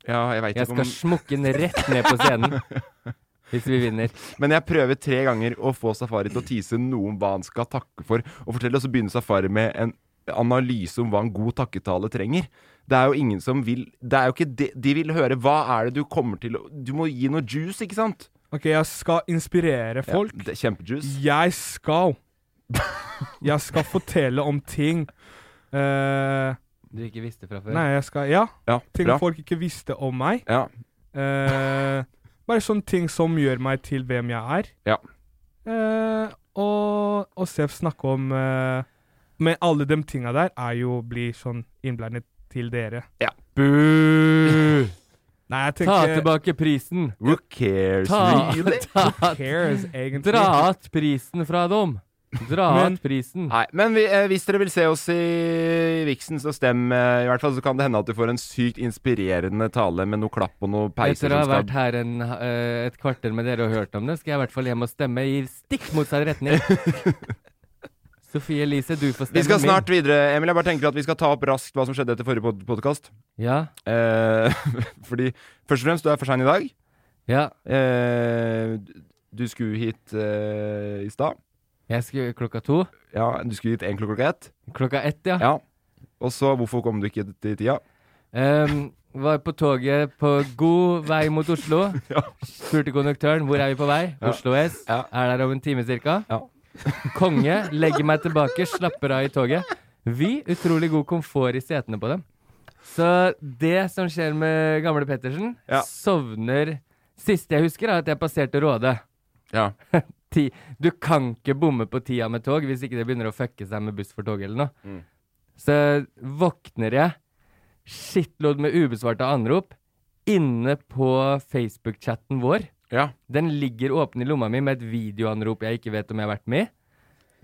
Ja, jeg vet
Jeg
ikke
skal
om
smukke den rett ned på scenen hvis vi vinner.
Men jeg prøver tre ganger å få Safari til å tease noe om hva han skal takke for, og fortelle, og så begynner Safari med en analyse om hva en god takketale trenger. Det er jo ingen som vil Det er jo ikke det De vil høre hva er det du kommer til å Du må gi noe juice, ikke sant?
Ok, jeg skal inspirere folk.
Ja, det, kjempejuice.
Jeg skal Jeg skal fortelle om ting eh,
Du ikke visste fra før.
Nei, jeg skal Ja,
Ja,
ting
bra.
folk ikke visste om meg.
Ja.
Eh, bare sånne ting som gjør meg til hvem jeg er.
Ja.
Eh, og, og Sef snakke om eh, Men alle de tinga der er jo å bli sånn innblandet til dere.
Ja.
Buh! Nei,
Ta
jeg tenker
tilbake prisen!
Who cares?
Ta,
really?
ta,
Cares, egentlig.
dra att prisen fra dem! Dra
Men-
att prisen.
Nei, men vi, eh, hvis dere vil se oss i Vixen, så stem eh, i hvert fall. Så kan det hende at du får en sykt inspirerende tale med noe klapp og noe peiser
Etter å ha
som
vært
skal
her en, eh, et kvarter med dere og hørt om det, skal jeg i hvert fall hjem og stemme i stikk motsatt retning. Sofie Elise, du får stemme
Vi skal snart videre, Emil. Jeg bare tenker at vi skal ta opp raskt hva som skjedde etter forrige podkast.
Ja,
Eh, fordi først og fremst, du er for sein i dag.
ja.
Eh, du skulle hit eh, i stad.
Jeg skulle klokka to.
Ja, du skulle hit én klokka ett.
Klokka ett, ja.
Ja. Og så, hvorfor kom du ikke til tida?
Ehm, var på toget på god vei mot Oslo.
Ja.
Spurte konduktøren hvor er vi på vei.
Ja.
Oslo S.
Ja.
Er der om en time cirka.
Ja.
Konge. Legger meg tilbake, slapper av i toget. Vi, utrolig god komfort i setene på dem. Så det som skjer med gamle Pettersen,
Ja.
sovner Siste jeg husker, er at jeg passerte Råde.
Ja.
Ti. Du kan ikke bomme på tida med tog hvis ikke det begynner å fucke seg med buss for tog eller noe.
Mm.
Så våkner jeg, shitload med ubesvarte anrop, inne på Facebook-chatten vår.
ja.
Den ligger åpen i lomma mi med et videoanrop jeg ikke vet om jeg har vært med i.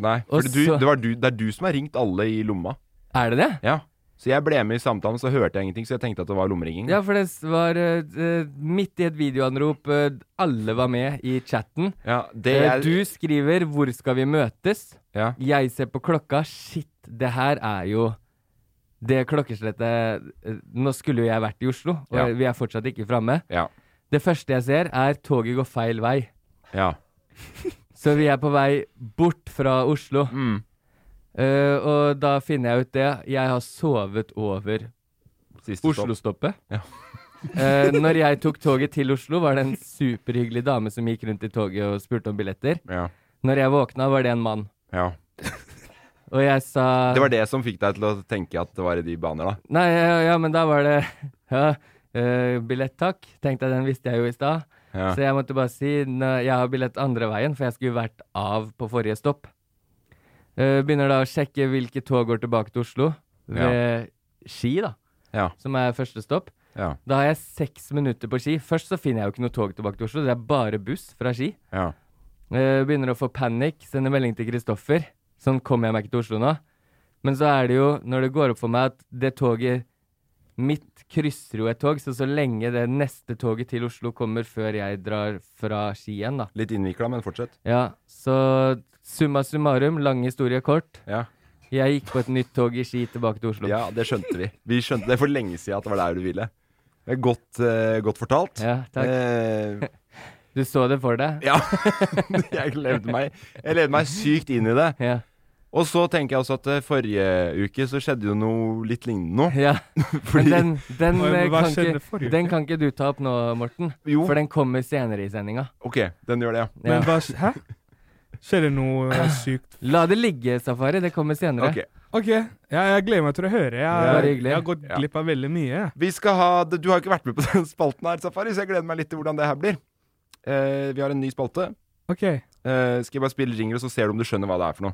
Nei.
Og
Fordi du,
så-
det, var du, det er du som har ringt alle i lomma.
Er det det?
Ja. Så jeg ble med i samtalen, så hørte jeg ingenting, så jeg tenkte at det var lommeringing.
Ja, for det s- var eh, eh, midt i et videoanrop, eh, alle var med i chatten.
Ja, det
Eh,
er
Du skriver 'Hvor skal vi møtes?'
ja.
Jeg ser på klokka. Shit, det her er jo det klokkeslettet eh, Nå skulle jo jeg vært i Oslo, og
Ja.
vi er fortsatt ikke framme.
Ja.
Det første jeg ser, er toget går feil vei.
ja.
Så vi er på vei bort fra Oslo.
Mm.
Eh, og da finner jeg ut det. Jeg har sovet over
Siste stopp.
Oslo-stoppet.
Ja.
Eh, når jeg tok toget til Oslo, var det en superhyggelig dame som gikk rundt i toget og spurte om billetter.
Ja.
Når jeg våkna, var det en mann.
ja.
Og jeg sa
Det var det som fikk deg til å tenke at det var i de baner, da.
Nei, ja, ja, men da var det ja, eh, billett, takk. Tenkte jeg, den visste jeg jo i stad.
Ja.
Så jeg måtte bare si "Nå, jeg har billett andre veien, for jeg skulle vært av på forrige stopp. Eh, begynner da å sjekke hvilke tog går tilbake til Oslo ved Ski, da,
Ja.
som er første stopp.
Ja.
Da har jeg seks minutter på Ski. Først så finner jeg jo ikke noe tog tilbake til Oslo, det er bare buss fra Ski.
Ja.
Eh, begynner å få panikk, sender melding til Kristoffer. Sånn kommer jeg meg ikke til Oslo nå. Men så er det jo, når det går opp for meg at det toget mitt krysser jo et tog, så så lenge det neste toget til Oslo kommer før jeg drar fra Ski igjen, da.
Litt innvikla, men fortsett.
Ja, så summa summarum, lang historie kort.
Ja.
Jeg gikk på et nytt tog i Ski tilbake til Oslo.
ja, det skjønte vi. Vi skjønte det for lenge siden at det var der du ville. Det er godt, eh, godt fortalt.
Ja, takk.
Eh,
Du så det for deg?
ja. jeg, levde meg, jeg levde meg sykt inn i det.
Ja.
Og så tenker jeg også at eh, forrige uke så skjedde jo noe litt lignende nå.
ja. Men
Fordi
den, den,
Hva-
eh,
hva
kan
skjedde
ikke,
forrige uke?
den kan ikke du ta opp nå, Morten.
Jo,
For den kommer senere i sendinga.
ok, den gjør det, ja.
Ja.
Men hva sk- Hæ? Skjer det noe eh, sykt?
La det ligge, Safari. Det kommer senere.
Ok.
OK, jeg, jeg gleder meg til å høre.
Bare
Jeg,
hyggelig.
jeg har gått
Ja.
glipp av veldig mye. jeg.
Vi skal ha, du har ikke vært med på den spalten her, Safari, så jeg gleder meg litt til hvordan det her blir. Eh, vi har en ny spalte.
OK.
Eh, skal jeg bare spille ringer, og så ser du om du skjønner hva det er for noe.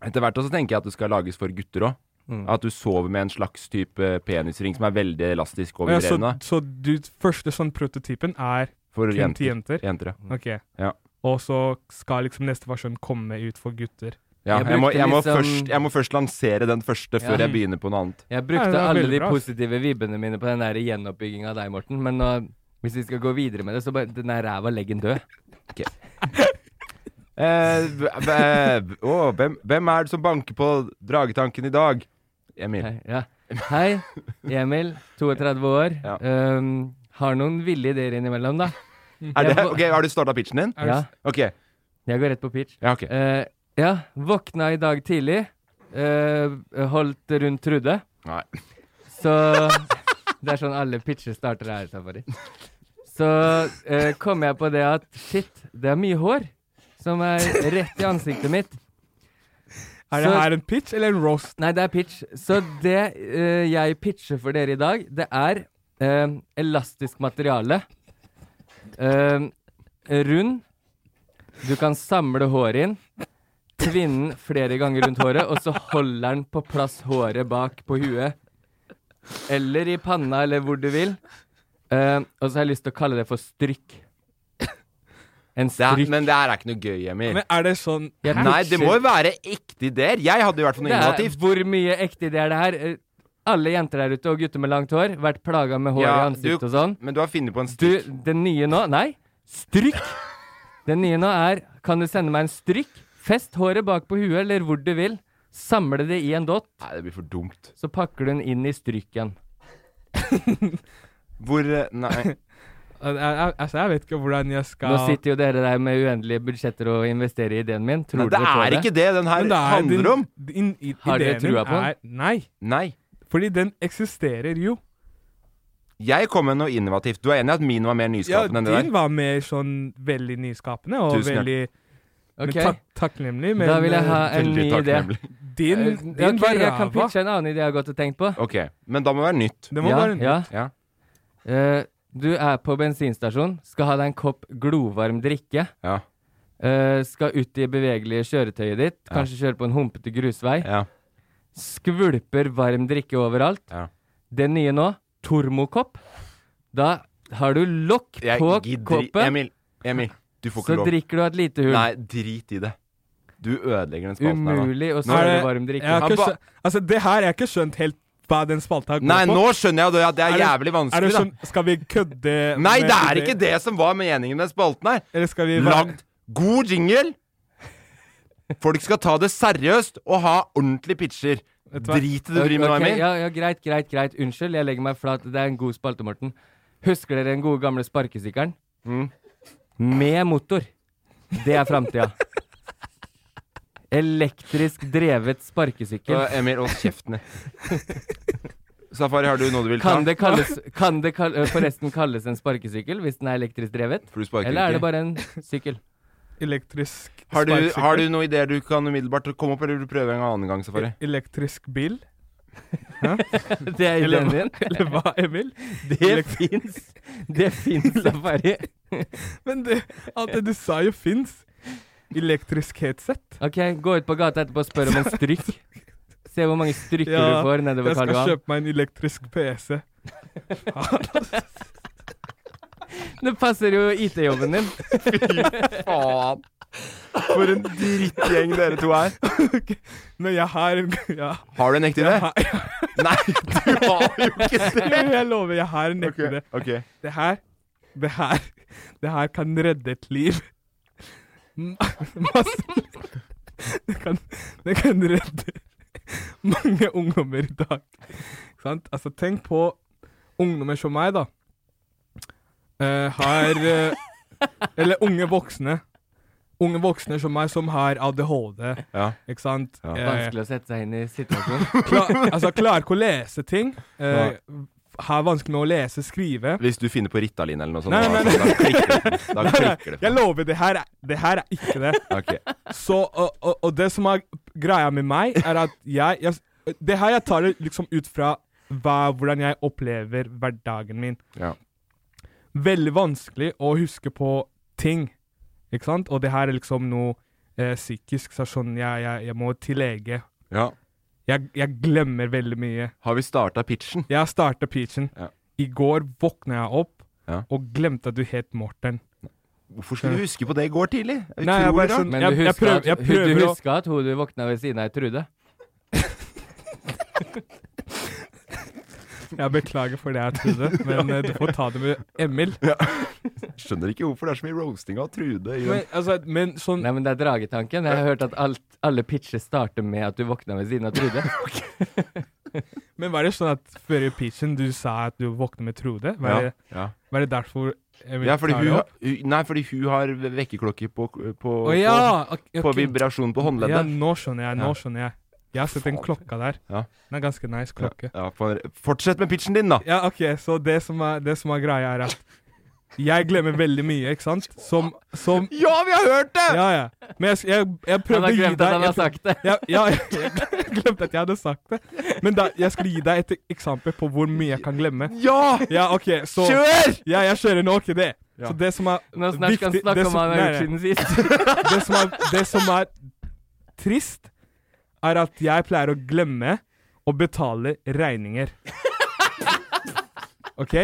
etter hvert også tenker jeg at det skal lages for gutter òg.
Mm.
At du sover med en slags type penisring som er veldig elastisk
Ja,
over
så,
revna.
så du, første sånn prototypen er
For
kun til
jenter.
jenter?
jenter ja.
Mm.
Ok.
Ja.
Og så skal liksom neste versjon komme ut for gutter.
Ja,
Jeg
jeg, må,
brukte
jeg, må
liksom-
først, jeg må først lansere den første før
Ja.
jeg begynner på noe annet.
Jeg
Ja,
brukte
det er
alle
veldig
de
bra, ass.
positive vibbene mine på den der gjenoppbygginga av deg, Morten. Men nå, hvis vi skal gå videre med det, så bare Den der ræva, legg den død.
Eh, v- v- å, hvem, hvem er det som banker på dragetanken i dag? Emil.
Hei, ja. Hei, Emil. 32 år.
Ja.
Ehm, har noen ville ideer innimellom, da.
Er det,
Jeg-
ok, Har du starta pitchen din?
Ja,
Ok. Ja,
jeg går rett på pitch.
ok.
Eh, ja, våkna i dag tidlig. eh, holdt rundt Trude.
Nei.
Så Det er sånn alle pitcher starter her. Safari. Så eh, kom jeg på det at shit, det er mye hår som er rett i ansiktet mitt.
Er det
Så-
her en pitch eller en roast?
Nei, det er pitch. Så det eh, jeg pitcher for dere i dag, det er eh, elastisk materiale. Eh, rund. Du kan samle håret inn. Kvinnen flere ganger rundt håret, og så holder den på plass håret bak på huet. Eller i panna, eller hvor du vil. Eh, og så har jeg lyst til å kalle det for strykk. En
Det er,
strykk.
men det her er ikke noe gøy, Emil.
Men er det sånn
Jeg
Nei, det
pitcher-
må jo være ekte ideer. Jeg hadde i hvert fall noe
Det er,
innovativt.
hvor mye ekte det er det her. Eh, Alle jenter der ute og gutter med langt hår vært plaga med hår i
Ja,
ansiktet
du-
og sånn.
Men du har funnet på en
Du,
strykk.
den nye nå Nei, strykk! Den nye nå er Kan du sende meg en strykk? Fest håret bak på huet eller hvor du vil. Samle det i en dott,
Nei, det blir for dumt.
så pakker du den inn i stryken.
Hvor eh, Nei.
al- al- Altså, jeg vet ikke hvordan jeg skal
Nå sitter jo dere der med uendelige budsjetter og investerer i ideen min. Tror
Nei, det
dere på
er
det?
ikke det den her
Men det er
handler
din-
om.
din i-
Har dere
ideen
trua
din
på den?
er- Nei,
Nei.
fordi den eksisterer jo.
Jeg kom med noe innovativt. Du er enig i at min var mer
Ja,
nyskapende enn det
din
der?
var mer sånn veldig nyskapende og
Tusen
veldig men
Ok,
tak takknemlig. Men
Da vil jeg ha en ny
Veldig
idé.
takknemlig.
eh, din,
Eh,
din
ok,
var
jeg kan
ræva.
pitche en annen idé jeg har gått og tenkt på.
Ok, men da må det være nytt.
Det må
ja,
være
ja.
Ja.
Eh, du er på bensinstasjon, skal ha deg en kopp glovarm drikke.
Ja.
eh, skal ut i bevegelige kjøretøyet ditt, kanskje kjøre på en humpete grusvei.
ja.
Skvulper varm drikke overalt.
Ja.
Det nye nå, tormokopp. Da har du lokk
Jeg
på
gidder ikke
koppen,
Emil, Emil, du får
så
ikke lov.
drikker du av et lite hull.
Nei, drit i det. Du ødelegger den spalten her nå.
Umulig å
Er
svare
det-
varm
jeg
drikke.
har
Han
ikke
ba-
skjønt- Altså, det her, jeg har ikke skjønt helt hva den spalta går
Nei,
på.
nå skjønner jeg det, at det er,
Er det-
jævlig
Er det
vanskelig,
sånn, skal vi kødde
da. Nei,
med
det er
idé-
ikke det som var meningen med den spalten her.
Eller skal vi være-
Lagd god jingle. Folk skal ta det seriøst og ha ordentlige pitcher.
Vet du hva?
Drit i det du driver med nå,
Ok,
Emil.
ja, ja, greit, greit, greit. Unnskyld, jeg legger meg flat. Det er en god spalte, Morten. Husker dere den gode gamle sparkesykkelen? Mm. Med motor. Det er framtida. Elektrisk drevet sparkesykkel.
Øh, Emil, hold kjeften din. Safari, har du noe du vil ta?
Kan det, kalles, kan det kal- øh, forresten kalles en sparkesykkel hvis den er elektrisk drevet?
For du sparker
Eller er det
ikke.
bare en sykkel?
Elektrisk
Har du,
sparkesykkel.
har du noen ideer du kan umiddelbart komme opp, eller vil du prøve en annen gang, Safari?
Elektrisk bil?
Det er ideen
Eller hva,
din.
eller hva, Emil?
Det
Elekt-
fins. Det fins, Safari.
Men det, alt det du sa jo fins. Elektrisk headset.
OK, gå ut på gata etterpå og spør om en strykk. Se hvor mange strykker
Ja,
du får
Jeg
nedover
skal
Karl Johan.
kjøpe meg en elektrisk PC.
Det passer jo IT-jobben din.
Faen! For en drittgjeng dere to er.
Men jeg har en ja,
Har du en ekte idé?
har-
Nei, du har jo ikke det!
Jeg lover, jeg har en ekte idé.
Ok.
Det her Det her Det her kan redde et liv. Ma- Masse Det kan, det kan redde mange ungdommer i dag. Ikke sant? Altså, tenk på ungdommer som meg, da, eh, har eh, Eller unge voksne. Unge voksne som meg, som har ADHD,
Ja.
ikke sant?
Ja.
Eh,
Vanskelig å sette seg inn i situasjonen.
klar, altså, klarer ikke å lese ting. Eh, har vanskelig med å lese, skrive.
Hvis du finner på Ritalin eller noe sånt,
Nei,
da,
nei,
da, klikker det. Da klikker det.
Jeg lover, det her, er- det her er ikke det.
Ok.
Så, og, og, og det som er greia med meg, er at jeg, jeg Det her jeg tar det liksom ut fra hva, hvordan jeg opplever hverdagen min.
Ja.
Veldig vanskelig å huske på ting, ikke sant? Og det her er liksom noe eh, psykisk. Så er det sånn, jeg, jeg, jeg må til lege.
ja.
Jeg, jeg glemmer veldig mye.
Har vi starta pitchen?
Jeg starta peachen.
Ja.
I går våkna jeg opp
Ja.
og glemte at du het Morten.
Hvorfor skulle du huske på det i går tidlig? Det er
Nei, jeg
utrolig
bare
rart.
sånn-
Men
Jeg-
du
jeg
husker,
prøver-
at-
jeg
hu-
prøver
du
å-
husker at hun du våkna ved siden av, Trude?
Jeg beklager for det jeg trodde, men eh, du får ta det med Emil.
Skjønner ikke hvorfor det er så mye roasting av Trude. i den-
Men, altså, men sånn
Nei, men det er dragetanken. Jeg har hørt at alt, alle pitcher starter med at du våkna ved siden av Trude.
Men var det sånn at før i pitchen du sa at du våkner med Trude? Var, det,
Ja.
var det derfor jeg ville
ja, fordi
ta
hun,
det
har-
opp?
hun Nei, fordi hun har vekkerklokke på, på,
Å ja!
på, på vibrasjon på
Ja,
håndleddet.
nå skjønner jeg. Nå
Ja.
skjønner jeg. Jeg har sett den klokka der.
Ja.
Den er ganske nice klokke.
Ja, for, fortsett med pitchen din, da!
Ja, OK, så det som er, det som er greia, er at jeg glemmer veldig mye, ikke sant? Som, som
Ja, vi har hørt det!
Ja, ja. Men jeg, jeg, jeg
Han
prøvde
har
å gi
glemt at
deg
han har
jeg prøv-
sagt det.
Ja, ja, jeg glemte at jeg hadde sagt det. Men da, jeg skulle gi deg et eksempel på hvor mye jeg kan glemme.
Ja!
Ja, OK, så
Kjør!
Ja, jeg kjører nå, ikke det. Så
Ja.
det som er
Nå snart skal han
viktig-
snakke
det
om
som-
hva han har
nei,
gjort
nei.
siden sist.
det, som er, det som er trist, er at jeg pleier å glemme å betale regninger. OK?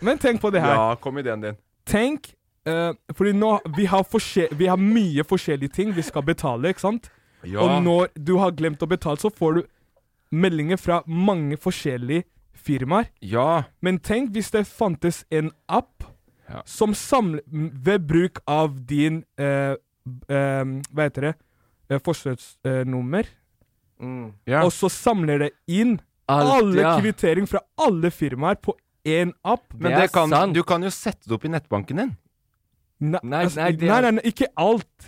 Men tenk på det her.
Ja, kom ideen din.
Tenk eh, Fordi nå vi har, forskje- vi har mye forskjellige ting vi skal betale, ikke sant?
Ja.
Og når du har glemt å betale, så får du meldinger fra mange forskjellige firmaer.
Ja.
Men tenk hvis det fantes en app
Ja.
som samler m- ved bruk av din eh, b- eh, Hva heter det? Eh, Forsøksnummer.
ja.
Og så samler det inn
Alt,
alle
ja.
kvittering fra alle firmaer på én app.
Men
Det er
det kan,
sant.
du kan jo sette det opp i nettbanken din.
Nei,
Nei,
altså,
nei,
nei,
det-
nei, nei, ikke alt.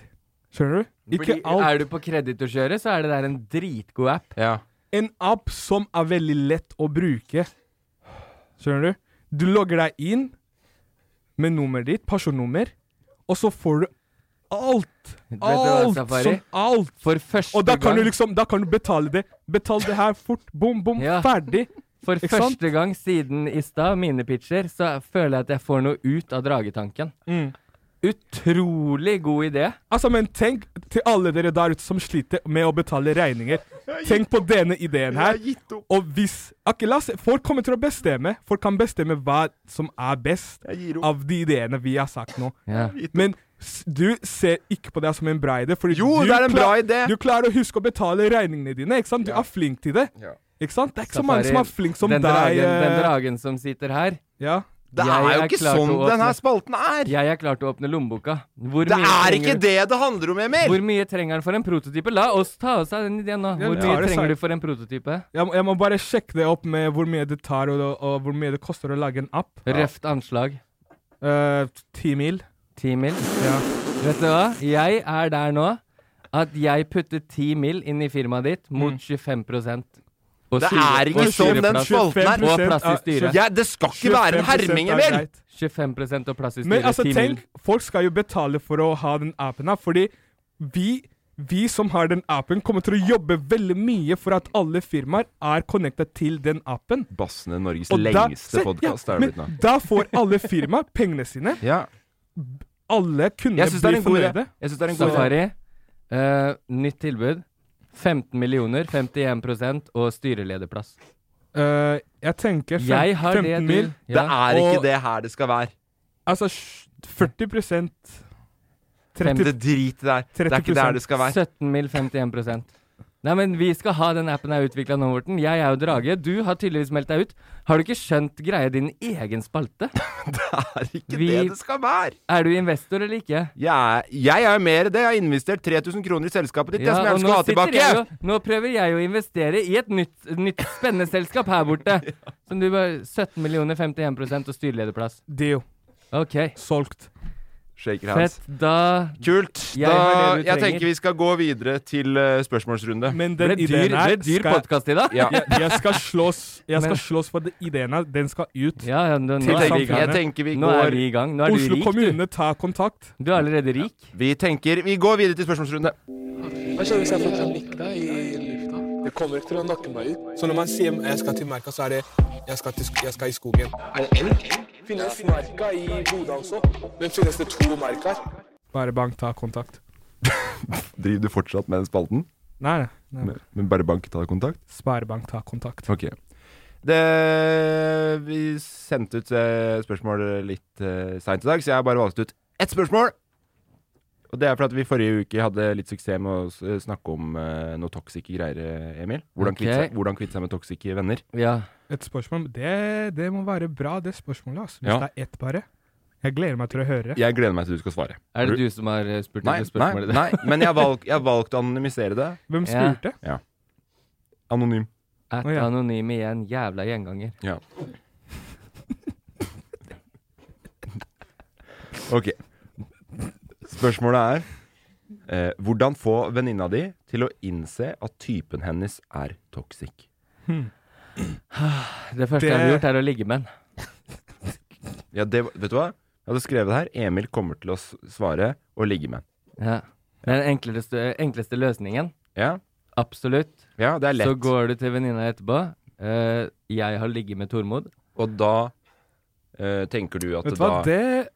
Skjønner du? Ikke
Fordi
alt.
Er du på kreditorkjøret, så er det der en dritgod app.
Ja.
En app som er veldig lett å bruke. Skjønner du? Du logger deg inn med nummeret ditt, personnummer, og så får du alt.
Vet du hva,
Alt
Safari?
som alt.
For første
Og da kan du
gang-
liksom da kan du betale det. Betal det her fort. Bom, bom,
Ja.
ferdig.
For
Ikke
første
sant?
gang siden i stad, mine pitcher, så føler jeg at jeg får noe ut av dragetanken.
Mm.
Utrolig god idé.
Altså, men tenk til alle dere der ute som sliter med å betale regninger. Tenk på denne ideen her.
gitt opp.
Og hvis ok, la oss, Folk kommer til å bestemme. Folk kan bestemme hva som er best
Jeg gir opp.
av de ideene vi har sagt nå.
Ja.
Men s- du ser ikke på det som en bra idé. Fordi
Jo,
du
det er en bra
klar-
idé.
Du klarer å huske å betale regningene dine. ikke sant? Du er flink til det.
Ja.
Ikke sant? Det er ikke så mange som er flink som
den
deg.
Dragen,
eh,
den dragen som sitter her.
ja.
Det
Jeg
er jo
er
ikke
klar til
sånn
å åpne.
denne spalten er!
Jeg er klar til å åpne lommeboka. Hvor
Det
mye
er
trenger
ikke
du-
det det handler om, Emil!
Hvor mye trenger han for en prototype? La oss ta oss av den ideen nå.
Ja,
Hvor
vi tar
mye
det
trenger
selv.
du for en prototype?
jeg, må- jeg må bare sjekke det opp med hvor mye det tar, og, og hvor mye det koster å lage en app.
Røft anslag.
Eh, Ti mil.
Ti mil.
Ja.
Vet du hva? Jeg er der nå at jeg putter ti mil inn i firmaet ditt mot
Mm.
25 Og
Det
tjue-
er ikke
og
sånn den
20%
spalten er!
Og plass i
av-
styret.
Ja, det skal ikke være en
25%
herming,
er
Emil!
greit.
25 og plass i styret.
Men altså,
10
tenk,
mil.
folk skal jo betale for å ha den appen her, fordi vi, vi som har den appen, kommer til å jobbe veldig mye for at alle firmaer er connected til den appen.
Bassene Norges
Og da-
lengste
Se,
podkast
ja,
er det
men
blitt nå.
Da får alle firmaer pengene sine.
Ja.
Alle kunder
Jeg syns det er
blir
en god
fornøyde.
idé. Jeg synes det er en god idé.
Safari, eh, nytt tilbud. 15 millioner, 51 og styrelederplass.
Eh, jeg tenker fem,
Jeg har
15
det du
mil.
Det
ja.
er ikke
Og-
det her det skal være.
Altså sj- 40
Det
30,
drit i det her. Det er ikke det her det skal være.
17 mil, 51 Nei, men vi skal ha den appen jeg utvikla nå, Morten. Jeg er jo drage. Du har tydeligvis meldt deg ut. Har du ikke skjønt greia din egen spalte?
er ikke
Vi-
det det skal være!
Er du investor eller ikke?
Jeg, jeg er jo mer det. Jeg har investert 3000 kroner i selskapet ditt, jeg, som jeg
og
gjerne skal ha
nå sitter jeg
tilbake.
Jo, nå prøver jeg å investere i et nytt, nytt spennende selskap her borte. Som du bare 17 millioner, 51 og styrelederplass.
Deal.
OK.
Solgt.
Shaker hands.
Fett. Da
Kult.
Jeg
da,
har det du
jeg
trenger.
tenker vi skal gå videre til eh, spørsmålsrunde.
Men den
ble dyr,
ideen her
ble dyr
skal-
podkast i dag.
Ja.
jeg, jeg skal slåss Jeg skal
Men-
slåss for den ideen her. Den skal ut.
Ja, ja, nå, nå,
Jeg
er vi i
tenker, jeg
gang.
tenker vi
nå er
går
vi i gang. Nå er du
Oslo
rik, du.
kommune, ta kontakt.
Du er allerede rik.
Vi tenker Vi går videre til spørsmålsrunde.
Hva skjer hvis jeg får panikk da i lufta? Det kommer ikke til å nakke meg ut.
Så når man sier jeg skal til merka, så er det jeg skal, til, jeg skal i skogen.
Er det elg? Finnes merka i Bodø også? Men finnes det to merker?
Bare bank, ta kontakt.
Driver du fortsatt med den spalten?
Nei, nei. nei.
Men bare bank tar kontakt?
Sparebank, ta kontakt.
Ok. Det, vi sendte ut eh, spørsmål litt eh, seint i dag, så jeg har bare valgt ut ett spørsmål. Og det er fordi at vi forrige uke hadde litt suksess med å s- snakke om eh, noe toxic greier, eh, Emil. Hvordan
Ok.
kvitte seg- hvordan kvitte seg med toxic venner.
Ja.
Et spørsmål Det, det må være bra, det spørsmålet. Altså. Hvis
Ja.
det er ett, bare. Jeg gleder meg til å høre det.
Jeg gleder meg til du skal svare.
Er det du som har eh, spurt
Nei,
om det
nei,
spørsmålet?
nei, men jeg har valg, jeg har valgt å anonymisere det.
Hvem
Ja.
spurte?
Anonym.
At
Å, ja.
anonym igjen, jævla gjenganger.
Ja. Ok. Spørsmålet er eh, Hvordan få venninna di til å innse at typen hennes er toxic?
Det første
Det-
jeg hadde gjort, er å ligge med en.
Ja, det, var- vet du hva? Jeg hadde skrevet her Emil kommer til å s- svare og ligge med.
Ja. Den enkleste, enkleste løsningen.
Ja,
Absolutt.
ja det er lett.
Så går du til venninna etterpå. eh, jeg har ligget med Tormod.
Og da eh, tenker du at
Vet du
da
hva, det,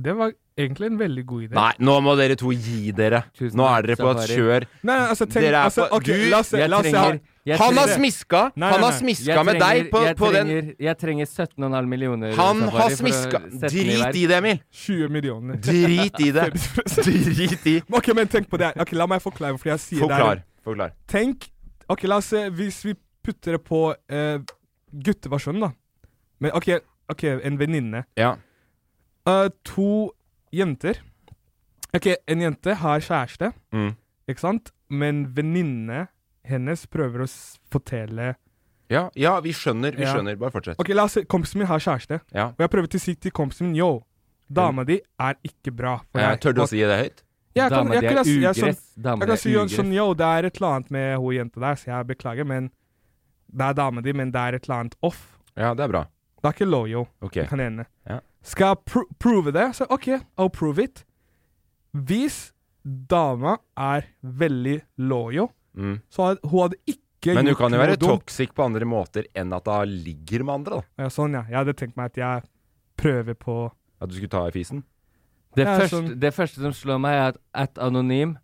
det var egentlig en veldig god idé.
Nei, nå må dere to gi dere!
Tusen
Nå er dere
takk,
på et
Safari.
kjør.
Nei, altså, tenk,
Dere er
altså,
på-
ok,
du,
la oss, se-
jeg
la oss, se-
trenger- jeg
Han har
trenger-
smiska!
Nei,
Han
nei,
har
nei.
smiska med deg på,
jeg
på den
trenger, Jeg trenger 17,5 millioner. Eh,
Han
Safari,
har
for å
smiska!
sette den verk.
Drit i det, Emil!
20 millioner.
Drit i det! Drit i
Ok, men tenk på det her. Ok, La meg forklare hvorfor jeg sier det.
Forklar.
her.
Forklar.
Tenk Ok, la oss se. Hvis vi putter det på eh, gutteversjonen, da. Men ok, ok, en venninne.
Ja.
Eh, to jenter. Ok, en jente har kjæreste,
Mm.
ikke sant? Men venninne hennes prøver å s- fortelle
Ja, ja, vi skjønner. Vi
Ja.
skjønner. Bare fortsett.
Ok, la oss se. Kompisen min har kjæreste.
Ja.
Og jeg prøver til å si til kompisen min Yo, dama di er ikke bra. for
Ja,
jeg-
tør du å
og-
si det høyt?
Ja, jeg kan-
Dama,
jeg
det
kan-
er
jeg- jeg-
ugress. Dama, det
Jeg kan
er
si jo-
ugress.
sånn, yo, det er et eller annet med hun jenta der, så jeg beklager, men det er dama di, men det er et eller annet off.
Ja, det er bra.
Det er ikke loyo,
Ok.
kan hende.
Ja.
Skal jeg pr prove det? Så OK, I'll prove it. Hvis dama er veldig loyo,
Mm.
så hadde hun hadde ikke
Men du
gjort
kan jo
noe
være
dumt.
toxic på andre måter enn at da ligger med andre, da.
Ja, sånn, ja. Jeg hadde tenkt meg at jeg prøver på
At du skulle ta i fisen.
Det,
Ja,
første,
sånn-
det første som slår meg, er at at anonym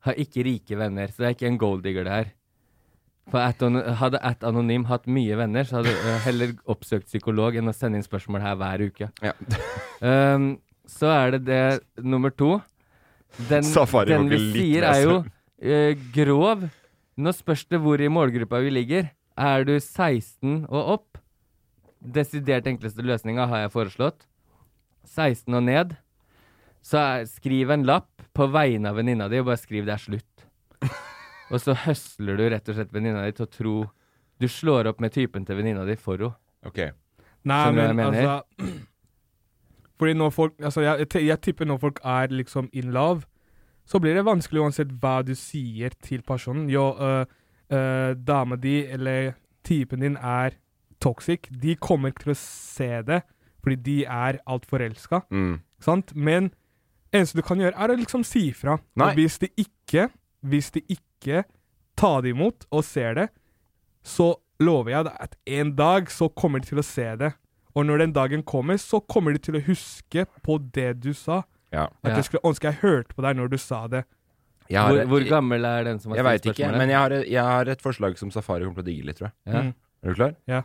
har ikke rike venner. Så det er ikke en golddigger, det her. For at, ano- hadde at anonym hatt mye venner, så hadde jeg heller oppsøkt psykolog enn å sende inn spørsmål her hver uke.
Ja.
Ehm, så er det det nummer to. Den,
Safari
den
var
vi
ikke litt
sier,
mer
er jo eh, grov. Nå spørs det hvor i målgruppa vi ligger. Er du 16 og opp? Desidert enkleste løsninga har jeg foreslått. 16 og ned. Så er, skriv en lapp på vegne av venninna di, og bare skriv 'det er slutt'. og så høsler du rett og slett venninna di til å tro Du slår opp med typen til venninna di for henne.
Ok.
Nei,
Skjønner du hva
men
jeg mener?
altså Fordi når folk Altså, jeg, jeg, jeg tipper når folk er liksom in love, så blir det vanskelig uansett hva du sier til personen. Jo, øh, øh, dama di eller typen din er toxic. De kommer ikke til å se det, fordi de er alt forelska.
Mm.
Ikke sant? Men eneste du kan gjøre, er å liksom si ifra.
Nei.
Og hvis de ikke Hvis de ikke tar det imot og ser det, så lover jeg deg at en dag så kommer de til å se det. Og når den dagen kommer, så kommer de til å huske på det du sa.
Ja.
At
Ja.
jeg skulle ønske jeg hørte på deg når du sa det.
Jeg har,
Hvor, hvor gammel er den som har
Jeg
stilt
veit ikke,
spørsmålet?
men jeg har, jeg har et forslag som Safari kommer til å digge litt, tror jeg.
Ja.
Mm.
Er du klar?
Ja.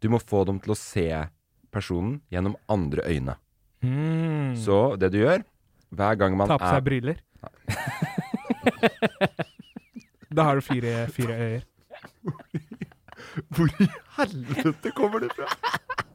Du må få dem til å se personen gjennom andre øyne.
Mm.
Så det du gjør hver gang man
Ta på
er
seg briller. Da har du fire, fire øyer.
Hvor i helvete kommer det fra?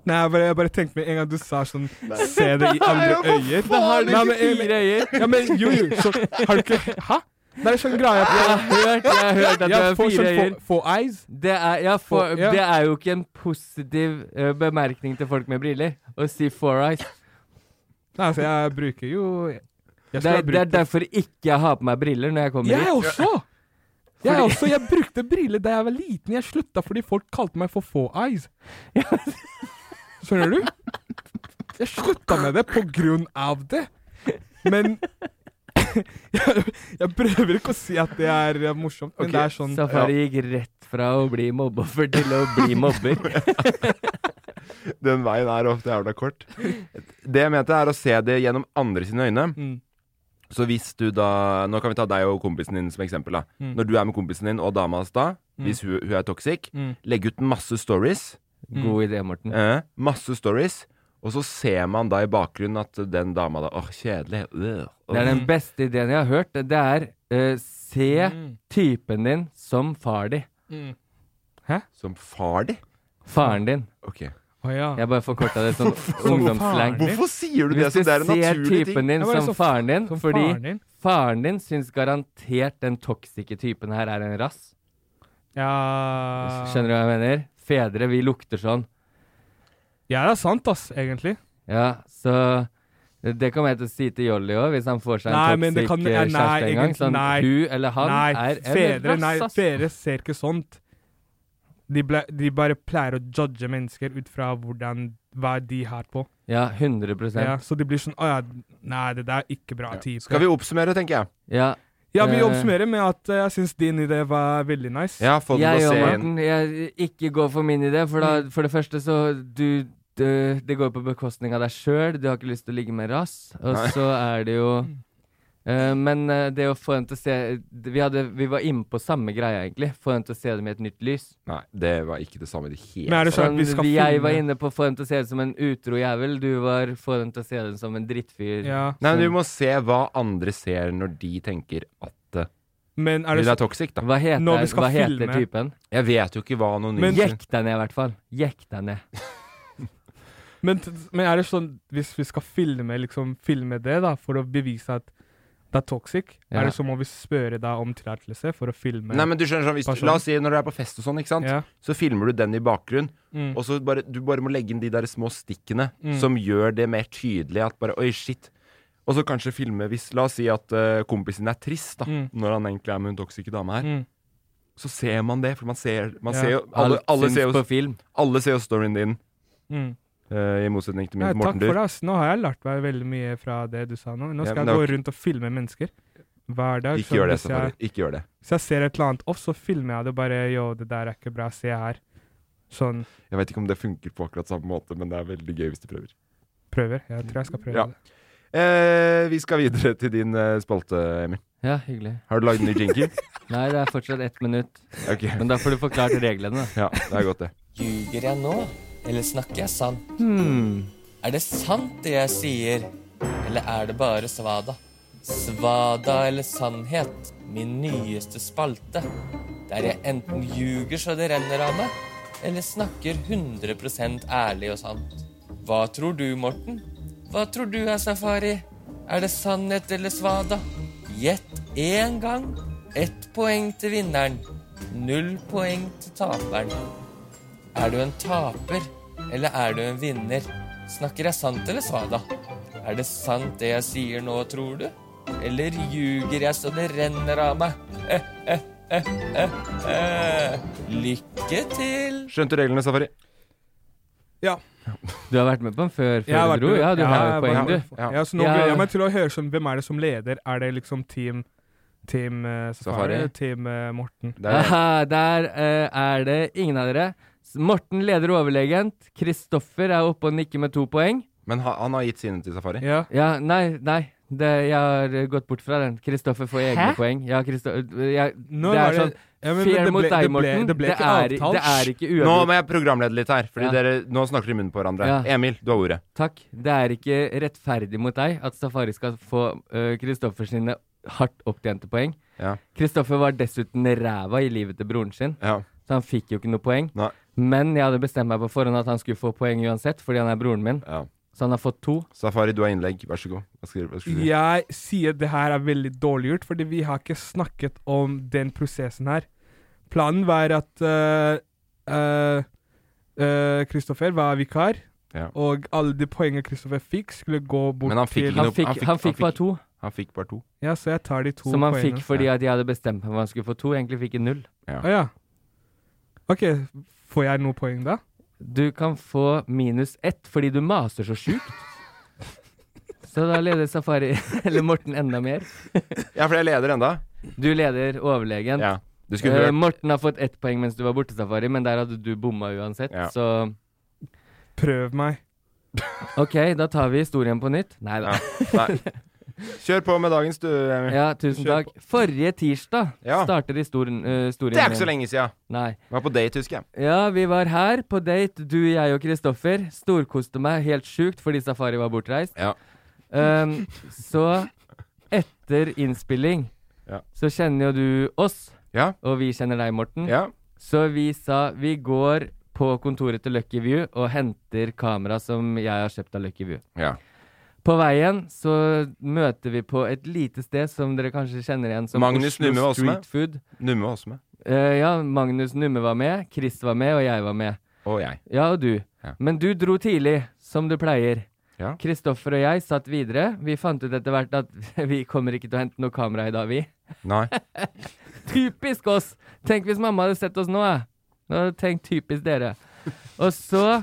Nei, jeg bare, jeg bare tenkte med en gang du sa sånn Se det i andre øyer.
Da har du
Nei, men-
ikke fire øyer.
Ja, men jo, jo. Så, har du ikke Hæ? Det er sånn greie
Jeg har
på
hørt, jeg har hørt at du har
får
fire
sånn
øyer.
få- få eyes.
Det er, ja, for,
Ja.
det er jo ikke en positiv ø, bemerkning til folk med briller å si four eyes.
Nei, altså, jeg bruker jo Jeg
Det
skulle
er,
ha
det er
brukt
derfor ikke jeg har på meg briller når jeg kommer
Jeg
hit.
også! Jeg også, jeg brukte briller da jeg var liten. Jeg slutta fordi folk kalte meg for få eyes. Skjønner du? Jeg slutta med det på grunn av det. Men jeg, jeg prøver ikke å si at det er eh, morsomt, men
Ok,
det er sånn
Safari gikk rett fra å bli mobbeoffer til å bli mobber.
Den veien er ofte jævla kort. Det jeg mente, er å se det gjennom andre sine øyne.
Mm.
Så hvis du da Nå kan vi ta deg og kompisen din som eksempel. da
Mm.
Når du er med kompisen din og dama hans da,
Mm.
hvis hun, hun er toxic,
Mm.
legg ut masse stories.
God idé, Morten.
Eh, masse stories. Og så ser man da i bakgrunnen at den dama da Åh, kjedelig. Øh, åh.
Det er den beste ideen jeg har hørt. Det er ø, se
Mm.
typen din som far di.
Som far di.
Faren din.
Ok.
Å ja.
Jeg bare forkorta det sånn ungdomsslang.
Hvorfor sier du det
Hvis du
som det er en
ser
naturlig
typen
ting?
din
Ja, bare
som
så-
faren din,
som
fordi
faren din.
faren din syns garantert den toksike typen her er en rass.
ja.
Skjønner du hva jeg mener? Fedre, vi lukter sånn.
Ja, det er sant, ass, egentlig.
Ja, så det kommer jeg til å si til Jolly òg, hvis han får seg
Nei,
en
men det
toxic eh,
kan- ja, nei,
kjæreste en gang.
egentlig,
Sånn,
nei.
hun eller han
nei,
er
fedre,
en
nei,
rass, ass.
fedre ser ikke sånt. De, ble, de bare pleier å judge mennesker ut fra hvordan, hva de har på.
Ja, 100
Ja,
Ja,
så de blir sånn Å ja, nei, det der er ikke bra type.
Skal vi oppsummere, tenker jeg.
ja, vi
eh,
oppsummerer med at eh, jeg syns din idé var veldig nice.
Jeg har fått
Jeg
den til å
og
se inn.
Morten, jeg, ikke gå for min idé, for,
Mm.
da, for det første så du, det- Det går på bekostning av deg sjøl, du har ikke lyst til å ligge med rass, og
Nei.
så er det jo
Mm.
eh, men eh, det å få henne til å se Vi, hadde, vi var inne på samme greia, egentlig. Få henne til å se det med et nytt lys.
Nei, det var ikke det samme i det hele
Men er det sånn
Sånn,
at vi skal
jeg
finne
var inne på å få dem til å se ut som en utro jævel. Du var få dem til å se ut som en drittfyr.
ja.
Nei, men Du må se hva andre ser når de tenker at eh,
Men er
hun
det
er toxic. da
Hva heter,
Når vi skal
hva heter
filme.
typen?
Jeg vet jo ikke hva anonym
Men-
Jekk deg ned, i hvert fall. Jekk deg ned.
sånn men, t- men er det sånn hvis vi skal filme, liksom, filme det, da, for å bevise at det er toxic,
Ja.
er det så må vi spørre deg om tillatelse for å filme?
Nei, men du skjønner sånn hvis,
Person.
La oss si når du er på fest og sånn, ikke sant?
Ja.
så filmer du den i bakgrunnen.
Mm.
Og så bare, du bare må legge inn de der små stikkene som gjør det mer tydelig at bare Oi, shit. Og så kanskje filme hvis La oss si at eh, kompisen din er trist, da,
Mm.
når han egentlig er med hun toksike dama her.
Mm.
Så ser man det, for man ser, man
Ja.
ser jo alle,
Alt
alle,
syns
ser jo,
på film.
alle ser jo storyen din,
Mm.
eh, i motsetning til
Ja,
min
takk
til Morten
for
Dyr.
det. ass. Nå har jeg lært meg veldig mye fra det du sa nå. Nå
Ja,
skal jeg
men det
gå
er ok.
rundt og filme mennesker hver dag.
Ikke gjør
hvis,
det, Safari.
jeg,
Ikke gjør det.
hvis jeg ser et eller annet off, så filmer jeg det og bare Yo, det der er ikke bra. Se her. Sånn
Jeg vet ikke om det funker på akkurat samme måte, men det er veldig gøy hvis du prøver.
prøver. Jeg tror jeg skal prøve
Ja.
det.
Eh, vi skal videre til din eh, spalte, Emil.
Ja, hyggelig.
Har du lagd ny jingle?
Nei, det er fortsatt ett minutt.
Ok.
Men da får du forklart reglene. da.
Ja, det er godt, det.
Ljuger jeg nå, eller snakker jeg sant?
Hmm.
Er det sant det jeg sier, eller er det bare svada? Svada eller sannhet, min nyeste spalte. Der jeg enten ljuger så det renner av meg, eller snakker 100 ærlig og sant. Hva tror du, Morten? Hva tror du er safari? Er det sannhet eller svada? Gjett én gang. Ett poeng til vinneren. Null poeng til taperen. Er du en taper, eller er du en vinner? Snakker jeg sant eller svada? Er det sant det jeg sier nå, tror du? Eller ljuger jeg så det renner av meg? Eh, eh, eh, eh, eh. Lykke til!
Skjønte reglene, Safari?
Du har vært med på den før,
Jeg har
før
vært
du dro?
med-
Ja, du
jeg
har
har
jo poeng,
vært-
du.
Ja.
Ja, så nå
Ja.
gleder jeg meg til å høre sånn, hvem er det som leder? Er det liksom Team, team eh, Safari?
Safari?
eller Team eh, Morten?
Det er
Aha, der eh, er det ingen av dere. S- Morten leder overlegent. Kristoffer er oppe og nikker med to poeng.
Men ha, han har gitt sine til Safari?
Ja.
Ja, nei, nei. Det, jeg har eh, gått bort fra den. Kristoffer får egne poeng. Ja, Kristo- eh, jeg,
Nå
det
var
er sånn
ja, men
Fair
det
mot
ble-
deg,
det ble-
Morten.
Det ble ikke
er,
avtalt.
det er ikke
Nå
uavgjort.
må jeg programlede litt her, Fordi
Ja.
dere, nå snakker de i munnen på hverandre.
Ja.
Emil, du har ordet.
Takk. Det er ikke rettferdig mot deg at Safari skal få eh, Kristoffer øh, sine hardt opptjente poeng.
Ja.
Kristoffer var dessuten ræva i livet til broren sin,
Ja.
så han fikk jo ikke noe poeng.
Nei.
Men jeg hadde bestemt meg på forhånd at han skulle få poeng uansett, fordi han er broren min.
Ja.
Så han har fått to.
Safari, du har innlegg. Vær så god. Hva skal, hva skal du si?
Jeg sier det her er veldig dårlig gjort, fordi vi har ikke snakket om den prosessen her. Planen var at eh, Kristoffer var vikar,
Ja.
og alle de poengene Kristoffer fikk, skulle gå bort
Men han fikk
til
ikke
Han
noe-
fikk,
han
han
fikk-
fikk,
han fikk-
bare to,
Han fikk bare to.
Ja, så jeg tar de to
som han
poengene.
fikk fordi at jeg hadde bestemt meg for at han skulle få to. Egentlig fikk jeg null.
Å ja. OK, får jeg noe poeng da?
Du kan få minus ett fordi du maser så sjukt. Så da leder Safari, eller Morten, enda mer.
Ja, for jeg leder enda.
Du leder overlegent.
Ja. Du skulle
Eh,
hørt.
Morten har fått ett poeng mens du var borte, Safari, men der hadde du bomma uansett.
Ja.
Så
Prøv meg.
OK, da tar vi historien på nytt. Nei da.
Ja. Nei. Kjør på med dagens, du, Emil.
Ja, tusen
Kjør
takk. Forrige tirsdag
Ja.
starter historien, eh, historien
Det er ikke så
min.
lenge siden.
Nei.
Jeg var på date, husker jeg.
Ja, vi var her på date, du, jeg og Kristoffer. Storkoste meg helt sjukt fordi Safari var bortreist.
Ja.
Ehm, så etter innspilling
Ja.
så kjenner jo du oss,
Ja.
og vi kjenner deg, Morten.
Ja.
Så vi sa vi går på kontoret til Lucky View og henter kamera som jeg har kjøpt av Lucky View.
Ja.
På veien så møter vi på et lite sted som dere kanskje kjenner igjen som
Magnus Numme var
Oslo
også med.
Street Food.
Numme var også med.
Eh, ja, Magnus Numme var med, Chris var med, og jeg var med.
Og jeg.
Ja, og du.
Ja.
Men du dro tidlig, som du pleier.
Ja.
Kristoffer og jeg satt videre. Vi fant ut etter hvert at vi kommer ikke til å hente noe kamera i dag, vi.
Nei.
Typisk oss! Tenk hvis mamma hadde sett oss nå, jeg. Nå hadde jeg tenkt typisk dere. Og så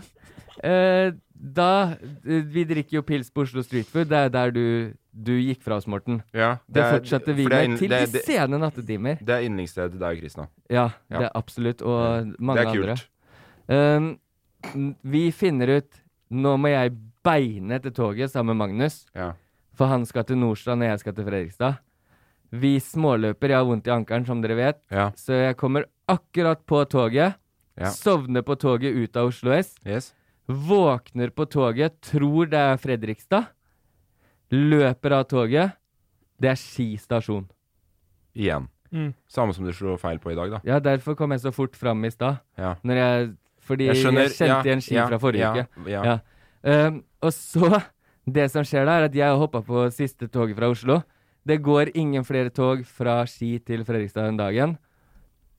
eh, Da eh, Vi drikker jo pils på Oslo Street Food. Det er der du, du gikk fra oss, Morten.
Ja,
Det, fortsatte vi
for det er
med
inn-
til
det,
de
det,
sene nattetimer.
det er yndlingsstedet til deg og Chris nå.
Ja,
Ja.
det er absolutt. Og mange
Det er
andre.
kult.
Um, n- vi finner ut Nå må jeg beine til toget sammen med Magnus.
Ja.
For han skal til Nordstrand, og jeg skal til Fredrikstad. Vi småløper. Jeg har vondt i ankelen, som dere vet.
Ja.
Så jeg kommer akkurat på toget.
Ja.
Sovner på toget ut av Oslo S.
Yes.
Våkner på toget, tror det er Fredrikstad. Løper av toget. Det er Ski stasjon.
Igjen.
Mm.
Samme som du slo feil på i dag, da.
Ja, derfor kom jeg så fort fram i stad.
Ja.
Når jeg, fordi jeg, kjente igjen Ski fra forrige
ja,
uke.
Ja, ja.
Ja. Ehm, og så Det som skjer da, er at jeg har hoppa på siste toget fra Oslo. Det går ingen flere tog fra Ski til Fredrikstad den dagen.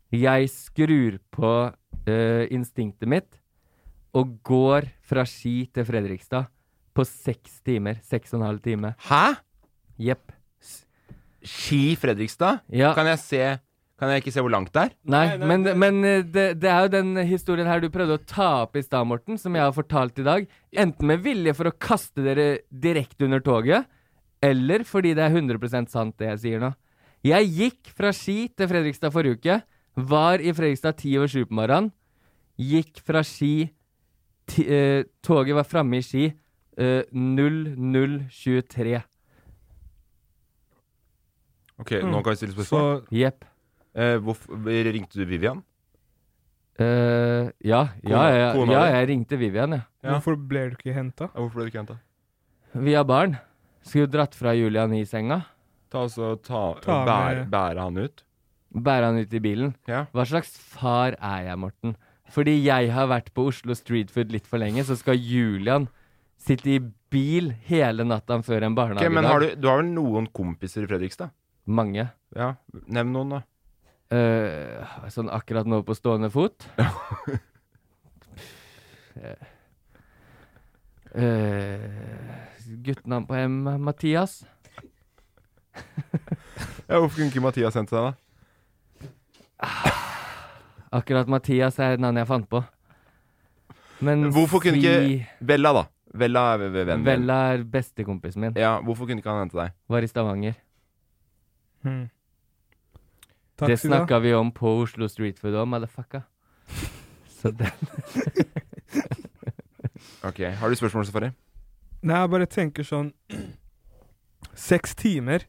Jeg skrur på eh, instinktet mitt og går fra Ski til Fredrikstad på seks timer. Seks og en halv time.
Hæ?
Jepp.
Ski Fredrikstad?
Ja.
Kan jeg se Kan jeg ikke se hvor langt det er?
Nei, men, men eh, det, det er jo den historien her du prøvde å ta opp i stad, Morten, som jeg har fortalt i dag. Enten med vilje for å kaste dere direkte under toget, eller fordi det er 100 sant, det jeg sier nå. Jeg gikk fra Ski til Fredrikstad forrige uke. Var i Fredrikstad ti over sju på morgenen. Gikk fra Ski ti, eh, Toget var framme i Ski eh, 0023.
Ok,
Mm.
nå kan vi stille
Så
spørsmål.
Jepp.
Eh, hvorfor, ringte du Vivian?
Eh, ja, ja, ja, ja,
Kona- kona
ja,
di?
jeg ringte Vivian, jeg.
Ja.
hvorfor ble du ikke henta?
Ja, hvorfor ble du ikke henta?
Vi har barn. Skulle dratt fra Julian i senga.
Ta altså, ta,
Ta
bære,
med-
bære han ut?
Bære han ut i bilen.
Ja.
Hva slags far er jeg, Morten? Fordi jeg har vært på Oslo Street Food litt for lenge, så skal Julian sitte i bil hele natta før en
Ok,
barnehage
men har du, du har vel noen kompiser i Fredrikstad?
Mange.
Ja, nevn noen, da.
Eh, sånn akkurat nå på stående fot. uh, Guttenavn på M. Mathias.
Ja, hvorfor kunne ikke Mathias sendt seg, da?
Akkurat Mathias er et navn jeg fant på. Men
Hvorfor kunne
si-
ikke Vella, da? Vella er v- v- vennen din.
Vella er bestekompisen min.
Ja, hvorfor kunne ikke han hente deg?
Var i Stavanger.
Hmm.
det
Taxi, da?
snakka vi om på Oslo Street Food òg, motherfucka. Så det,
Ok, Har du spørsmål, Safari?
Nei, jeg bare tenker sånn Seks timer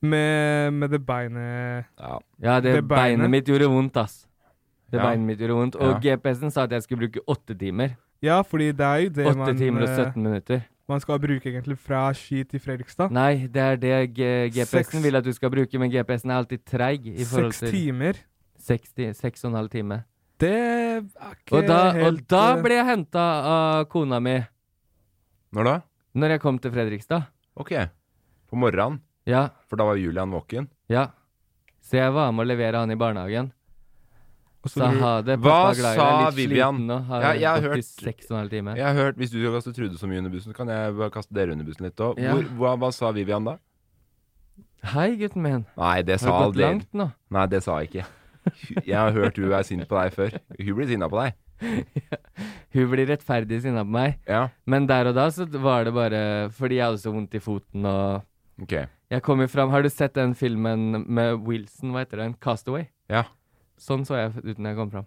med, med det beinet
Ja.
ja, det,
Det beinet.
beinet mitt gjorde vondt, ass. Det
Ja.
beinet mitt gjorde vondt. Og GPS-en sa at jeg skulle bruke åtte timer.
Ja, fordi det er jo det
Åtte
man
timer og
eh,
17 minutter.
man skal bruke egentlig fra Ski til Fredrikstad.
Nei, det er det G-
Seks-
GPS-en vil at du skal bruke, men GPS-en er alltid treig i forhold
Seks
til
timer.
60, 6 og en halv time.
Det er ikke
Og da, og
helt
da
eh,
ble jeg henta av kona mi
Når da?
når jeg kom til Fredrikstad.
Ok. På morgenen.
Ja,
For da var Julian våken.
ja. Så jeg var med å levere han i barnehagen.
og så
Så
du-
ha det,
Hva
pappa er glad i deg.
sa
Litt sliten
Vivian?
nå, har
Ja, jeg har
gått i
hørt-
seks og en halv time.
Jeg har hørt, Hvis du har kastet Trude så mye under bussen, kan jeg bare kaste dere under bussen litt òg.
Ja.
Hva, hva sa Vivian da?
Hei, gutten min.
Nei, det sa
Har du gått
aldri.
langt nå?
Nei, det sa jeg ikke. Hun- Jeg har hørt hun er sint på deg før. Hun blir sinna på deg.
Hun blir rettferdig sinna på meg.
Ja,
Men der og da så var det bare fordi jeg hadde så vondt i foten og
ok.
Jeg kom jo fram Har du sett den filmen med Wilson, hva heter den? Castaway?
Ja.
Sånn så jeg ut når jeg kom fram.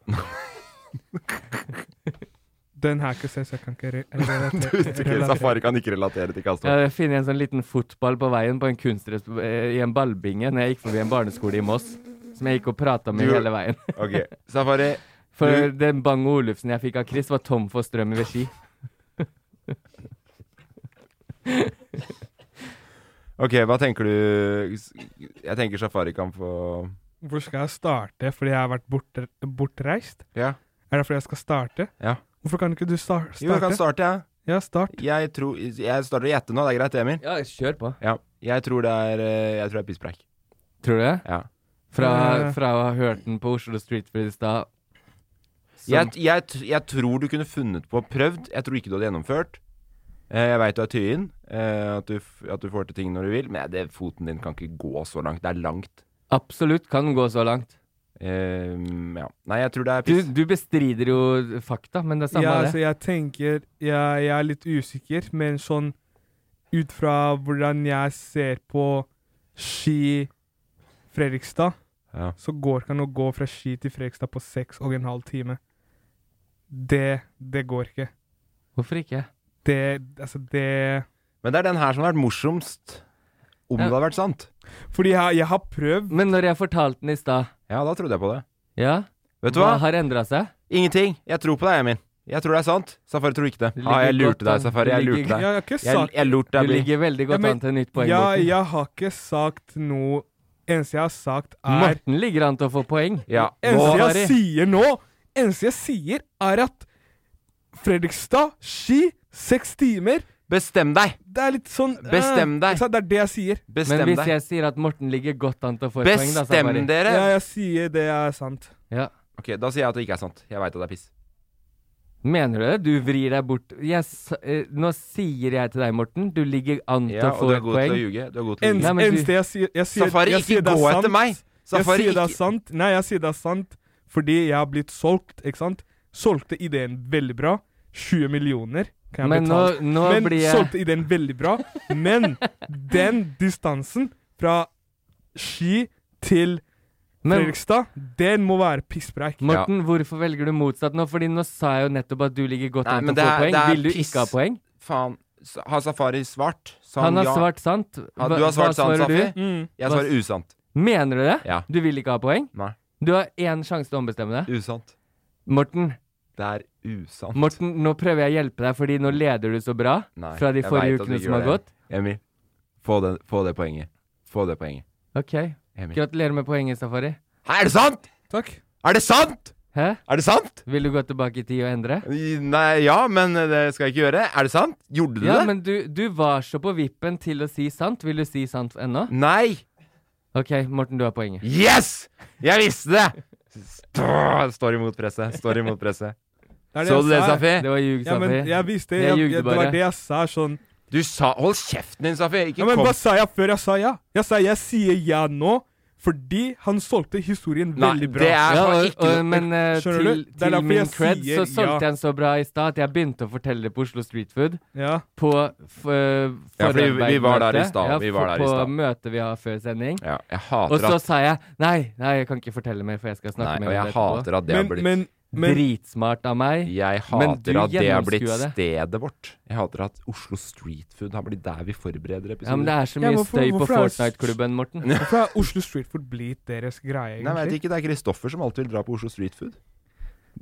Den har jeg ikke sett, så jeg kan ikke re-
Okay,
relatere.
Safari kan ikke relatere til Kastor.
Jeg finner en sånn liten fotball på veien på en kunstress eh, i en ballbinge når jeg gikk forbi en barneskole i Moss, som jeg gikk og prata med
Du-
hele veien.
Ok, Safari.
For
Du-
den Bang Olufsen jeg fikk av Chris, var tom for strøm ved ski.
Ok, hva tenker du Jeg tenker Safari kan få
Hvor skal jeg starte? Fordi jeg har vært bortre, bortreist?
Ja.
Er det fordi jeg skal starte?
Ja.
Hvorfor kan ikke du star starte?
Jo, jeg kan starte, jeg.
Ja, start.
Jeg, tror, jeg starter å gjette nå. Det er greit, Emil?
Ja, kjør på.
Ja. Jeg tror det er eh, Jeg tror det er pisspreik.
Tror du det?
Ja.
Fra,
Eh.
fra å ha hørt den på Oslo Street Food i stad. som-
Jeg, jeg, t- jeg tror du kunne funnet på og prøvd. Jeg tror ikke du hadde gjennomført. Eh, Jeg veit du er tyen, eh, at du, f- at du får til ting når du vil, men det, foten din kan ikke gå så langt. Det er langt.
Absolutt kan gå så langt.
Eh, ja. Nei, jeg tror det er
Du,
piss.
du bestrider jo fakta, men det er samme
ja,
det.
altså, jeg tenker jeg, jeg er litt usikker, men sånn ut fra hvordan jeg ser på Ski Fredrikstad,
Ja.
så går kan å gå fra Ski til Fredrikstad på seks og en halv time. Det Det går ikke.
Hvorfor ikke?
Det Altså, det
Men det er den her som har vært morsomst. Om
Ja.
det hadde vært sant.
Fordi jeg, jeg har prøvd.
Men når jeg fortalte den i stad,
Ja, da trodde jeg på det.
ja,
Vet du
hva
hva?
har endra seg?
Ingenting. Jeg tror på deg, Emin. Jeg tror det er sant. Safari tror ikke det.
Det
Ja, jeg
ligger
lurte
godt an.
deg, Safari. Jeg
Det
lurte
ligger-
Jeg,
deg.
jeg har ikke
Jeg,
sagt
jeg lurte
Du
deg. Bill.
ligger veldig
Ja,
godt
men-
an til et nytt poeng.
jeg,
Morten.
jeg har ikke sagt noe Eneste jeg har sagt, er
Morten ligger an til å få poeng.
Ja.
Eneste
Nå-
jeg sier nå, eneste jeg sier, er at Fredrikstad, Ski, seks timer
Bestem deg!
Det er litt sånn eh,
Bestem deg.
ikke sant? Det er det jeg sier.
Men
Bestem
hvis
deg.
jeg sier at Morten ligger godt an til å få et poeng, da,
Bestem
Safari.
dere!
Ja, jeg sier det er sant.
Ja.
Ok, Da sier jeg at det ikke er sant. Jeg veit at det er piss.
Mener du det? Du vrir deg bort jeg, s- eh, Nå sier jeg til deg, Morten, du ligger an til
Ja,
å
og
få
du er
et
god til å
poeng.
ljuge. Du er god til å
En,
ljuge.
Nei, men du-
eneste jeg sier, jeg sier
Safari,
jeg sier
ikke
det er
gå
sant.
etter meg! Safari,
jeg sier det er
ikke
sant. Nei, jeg sier det er sant fordi jeg har blitt solgt, ikke sant? Solgte ideen veldig bra. 20 millioner kan jeg
Men nå,
betale.
nå
men
blir jeg
solgte ideen veldig bra. Men den distansen fra Ski til
Men
Fredrikstad, den må være pisspreik.
Morten, hvorfor velger du motsatt nå? Fordi nå sa jeg jo nettopp at du ligger godt
Nei,
an
men
til å få
det er-
poeng.
det er
Vil du
piss.
ikke ha poeng?
Faen. S- Har Safari svart? Sa
Han har
ja.
svart sant.
Ja,
Hva-
du har svart
hva
sant,
svarer du?
Safi.
Mm.
Jeg
Hva-
svarer usant.
Mener du det?
Ja.
Du vil ikke ha poeng?
Nei.
Du har én sjanse til å ombestemme deg.
Usant.
Morten,
Det er usant.
Morten, nå prøver jeg å hjelpe deg, fordi nå leder du så bra
Nei,
fra de
jeg
forrige
vet at du
ukene
ikke
som
gjør
har gått.
Emil, få det, få det poenget. Få det poenget.
Ok.
Emil.
Gratulerer med poenget, Safari.
Hæ, er det sant?!
Takk.
Er det sant?!
Hæ?
Er det sant?!
Vil du gå tilbake i tid og endre?
I- Nei, ja, men eh, det skal jeg ikke gjøre. Er det sant? Gjorde du
Ja,
det?
men du, du var så på vippen til å si sant. Vil du si sant ennå?
Nei!
Ok, Morten, du har poenget.
Yes! Jeg visste det! Stå- Står imot presset. Står imot presset.
er
Så du det,
jeg sa.
Safi?
Det var ljug,
Ja,
Safari.
men jeg visste
Jeg
jeg, jeg,
ljugde
Det
bare.
var det jeg sa sånn
Du sa Hold kjeften din, Safi! Ikke
Ja, men
kom
hva sa jeg før jeg sa ja? Jeg sa jeg sier ja nå fordi han solgte historien veldig bra.
det er
Ja,
har
og,
ikke
og, men eh,
Skjønner
til,
du? Det er
til
derfor
min
jeg
cred så
sier ja.
solgte jeg den så bra i stad at jeg begynte å fortelle det på Oslo Street Food.
Ja.
På f
Ja, fordi vi- vi var der i
forarbeidsmøtet.
stad,
Ja,
vi var der i
på
stad.
møtet vi har før sending.
Ja, jeg
Og
hater
så
at
sa jeg nei, nei, jeg kan ikke fortelle mer, for jeg skal
Nei,
snakke med
og
dere
jeg
etterpå.
hater at det har
Men,
blitt
men, men
Dritsmart av meg.
Jeg
Men du
hater at det har blitt
gjennomskua det.
stedet vårt. Jeg hater at Oslo Street Food har blitt der vi forbereder
Ja, men det
episoder.
er så
Ja,
mye
hvorfor-
støy på
hvorfor er det s-
Fortnite-klubben, Morten.
hvorfor har Oslo Street Food blitt deres greie,
Nei, jeg vet
egentlig?
ikke. Det er Kristoffer som alltid vil dra på Oslo Street Food.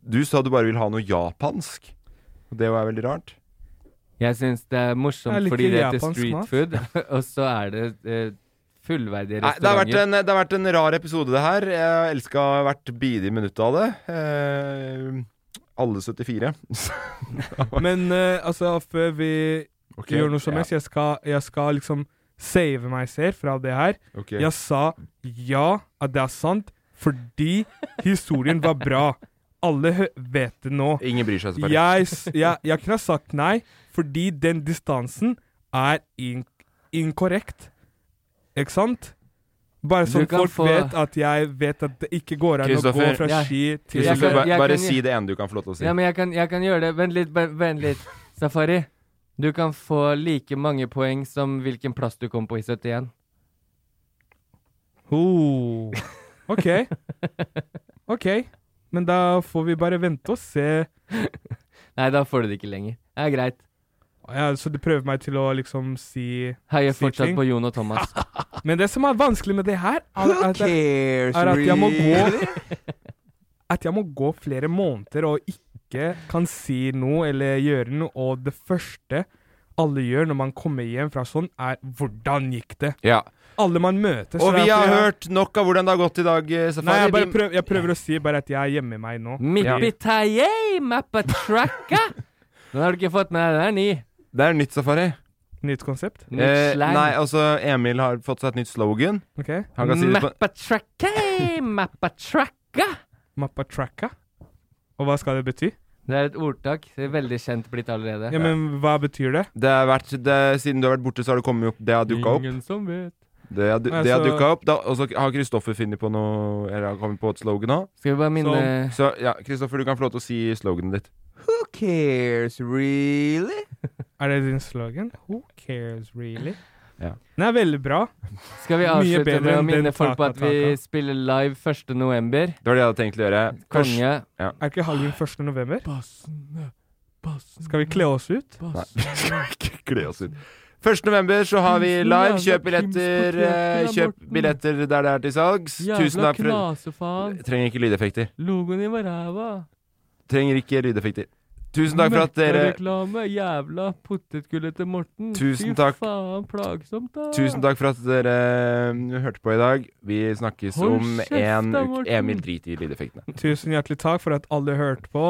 Du sa du bare vil ha noe japansk. Og det var veldig rart.
Jeg syns det er morsomt
Jeg liker
fordi det heter
japansk
street
mat.
food, og så er det eh, fullverdige
Nei, det, har vært
restauranter.
en, det har vært en rar episode, det her. Jeg elska hvert bidige minutt av det. Eh, alle 74.
Men eh, altså, før vi
Ok,
gjør noe som helst, jeg, skal, jeg skal liksom save meg selv fra det her.
ok.
Jeg sa ja, at det er sant, fordi historien var bra. Alle hø- vet det nå.
Ingen bryr seg, selvfølgelig.
Jeg, s- jeg, jeg kunne ha sagt nei, fordi den distansen er in inkorrekt. Ikke sant? Bare
Du
sånn
kan
folk
få-
vet at jeg vet at det ikke går an å gå
Kristoffer,
fra
ja.
ski til
Jeg
Kristoffer,
kan-
ba-
jeg
bare
kan-
si det ene du kan få lov til å si.
Ja, men jeg kan, jeg kan gjøre det. Vent litt, bare- vent litt. Safari, du kan få like mange poeng som hvilken plass du kom på i 71.
Oh. OK. OK. Men da får vi bare vente og se.
Nei, da får du det ikke lenger. Det er greit.
Ja, så du prøver meg til å liksom si
Heier
Si
fortsatt
ting.
på Jon og Thomas.
Men det som er vanskelig med det her, er
Who
at, er
cares,
at jeg må
really?
gå At jeg må gå flere måneder og ikke kan si noe eller gjøre noe, og det første alle gjør når man kommer hjem fra sånn, er 'hvordan gikk det?'
Ja.
Alle man møter så
Og
det
vi
er
har
fordi jeg-
hørt nok av hvordan det har gått i dag, eh, Safari.
Nei, jeg, bare
Vi-
prøver, jeg prøver å si bare at jeg gjemmer meg nå.
Mippitaie, mappatracka! Den har du ikke fått med deg. Den er ny.
Det er nytt, Safari.
Nytt konsept.
Nytt
Eh,
slang.
nei, altså, Emil har fått seg et nytt slogan.
OK?
Han kan si det på
Mappatracka, mappatracka.
Mappa tracka. Og hva skal det bety?
Det er et ordtak. Det er veldig kjent blitt allerede.
Ja, men hva betyr det?
det har vært, det, Siden du har vært borte, så har det kommet opp Det har dukka opp.
Ingen som vet.
Det har, du-
Nei,
det har
så-
dukket opp da, Og så har Kristoffer funnet på noe Eller har kommet på et slogan nå.
Skal vi bare minne
Så ja, Kristoffer, du kan få lov til å si sloganet ditt.
Who cares, really?
Er det din slogan? Who cares, really?
Ja.
Den er veldig bra.
Skal vi
Mye
avslutte
bedre
med å
enn den
minne folk på at vi
taka-taka.
spiller live 1. november?
Det var det jeg hadde tenkt å gjøre. Først-
Konge.
Er ikke
Ah.
Halloween 1. november? Skal vi kle oss ut?
Nei, vi skal ikke kle oss ut. 1. november så har vi live. Kjøp billetter, eh, kjøp billetter der det er til salgs. Tusen takk for
knasefaen.
Trenger ikke lydeffekter.
Logoen i ræva.
Trenger ikke lydeffekter. Tusen takk for at dere
Møkkareklame, jævla potetgullet til Morten.
Tusen takk.
Fy faen, plagsomt, da.
Tusen takk for at dere eh, hørte på i dag. Vi snakkes
Hold
om
kjeft,
en
da,
uke.
Morten.
Emil, drit i lydeffektene.
Tusen hjertelig takk for at alle hørte på.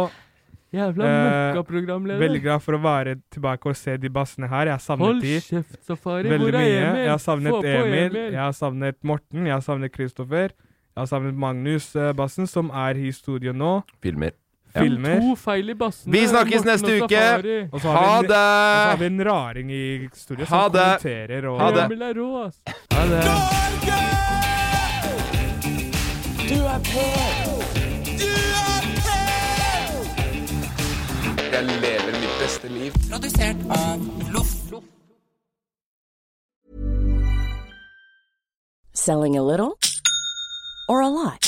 Jævla
Eh,
møkkaprogramleder.
Veldig glad for å være tilbake og se de bassene her. Jeg har savnet
Hold
de
kjeft, Safari.
veldig
Hvor er
mye.
Emil?
Jeg har savnet
Få på
Emil, jeg har savnet Morten, jeg har savnet Kristoffer. Jeg har savnet Magnus eh, Bassen, som er i studio nå.
Filmer. Ja.
Filmer.
To feil i bassen.
Vi snakkes neste
Og så
uke. Ha
har vi en, og så har
det!
vi en raring i studio
Ha
som
det.
kommenterer og
Ha det.
Emil er rå, ass. Ha det.
Jeg lever mitt beste liv.
Selling a little or a lot?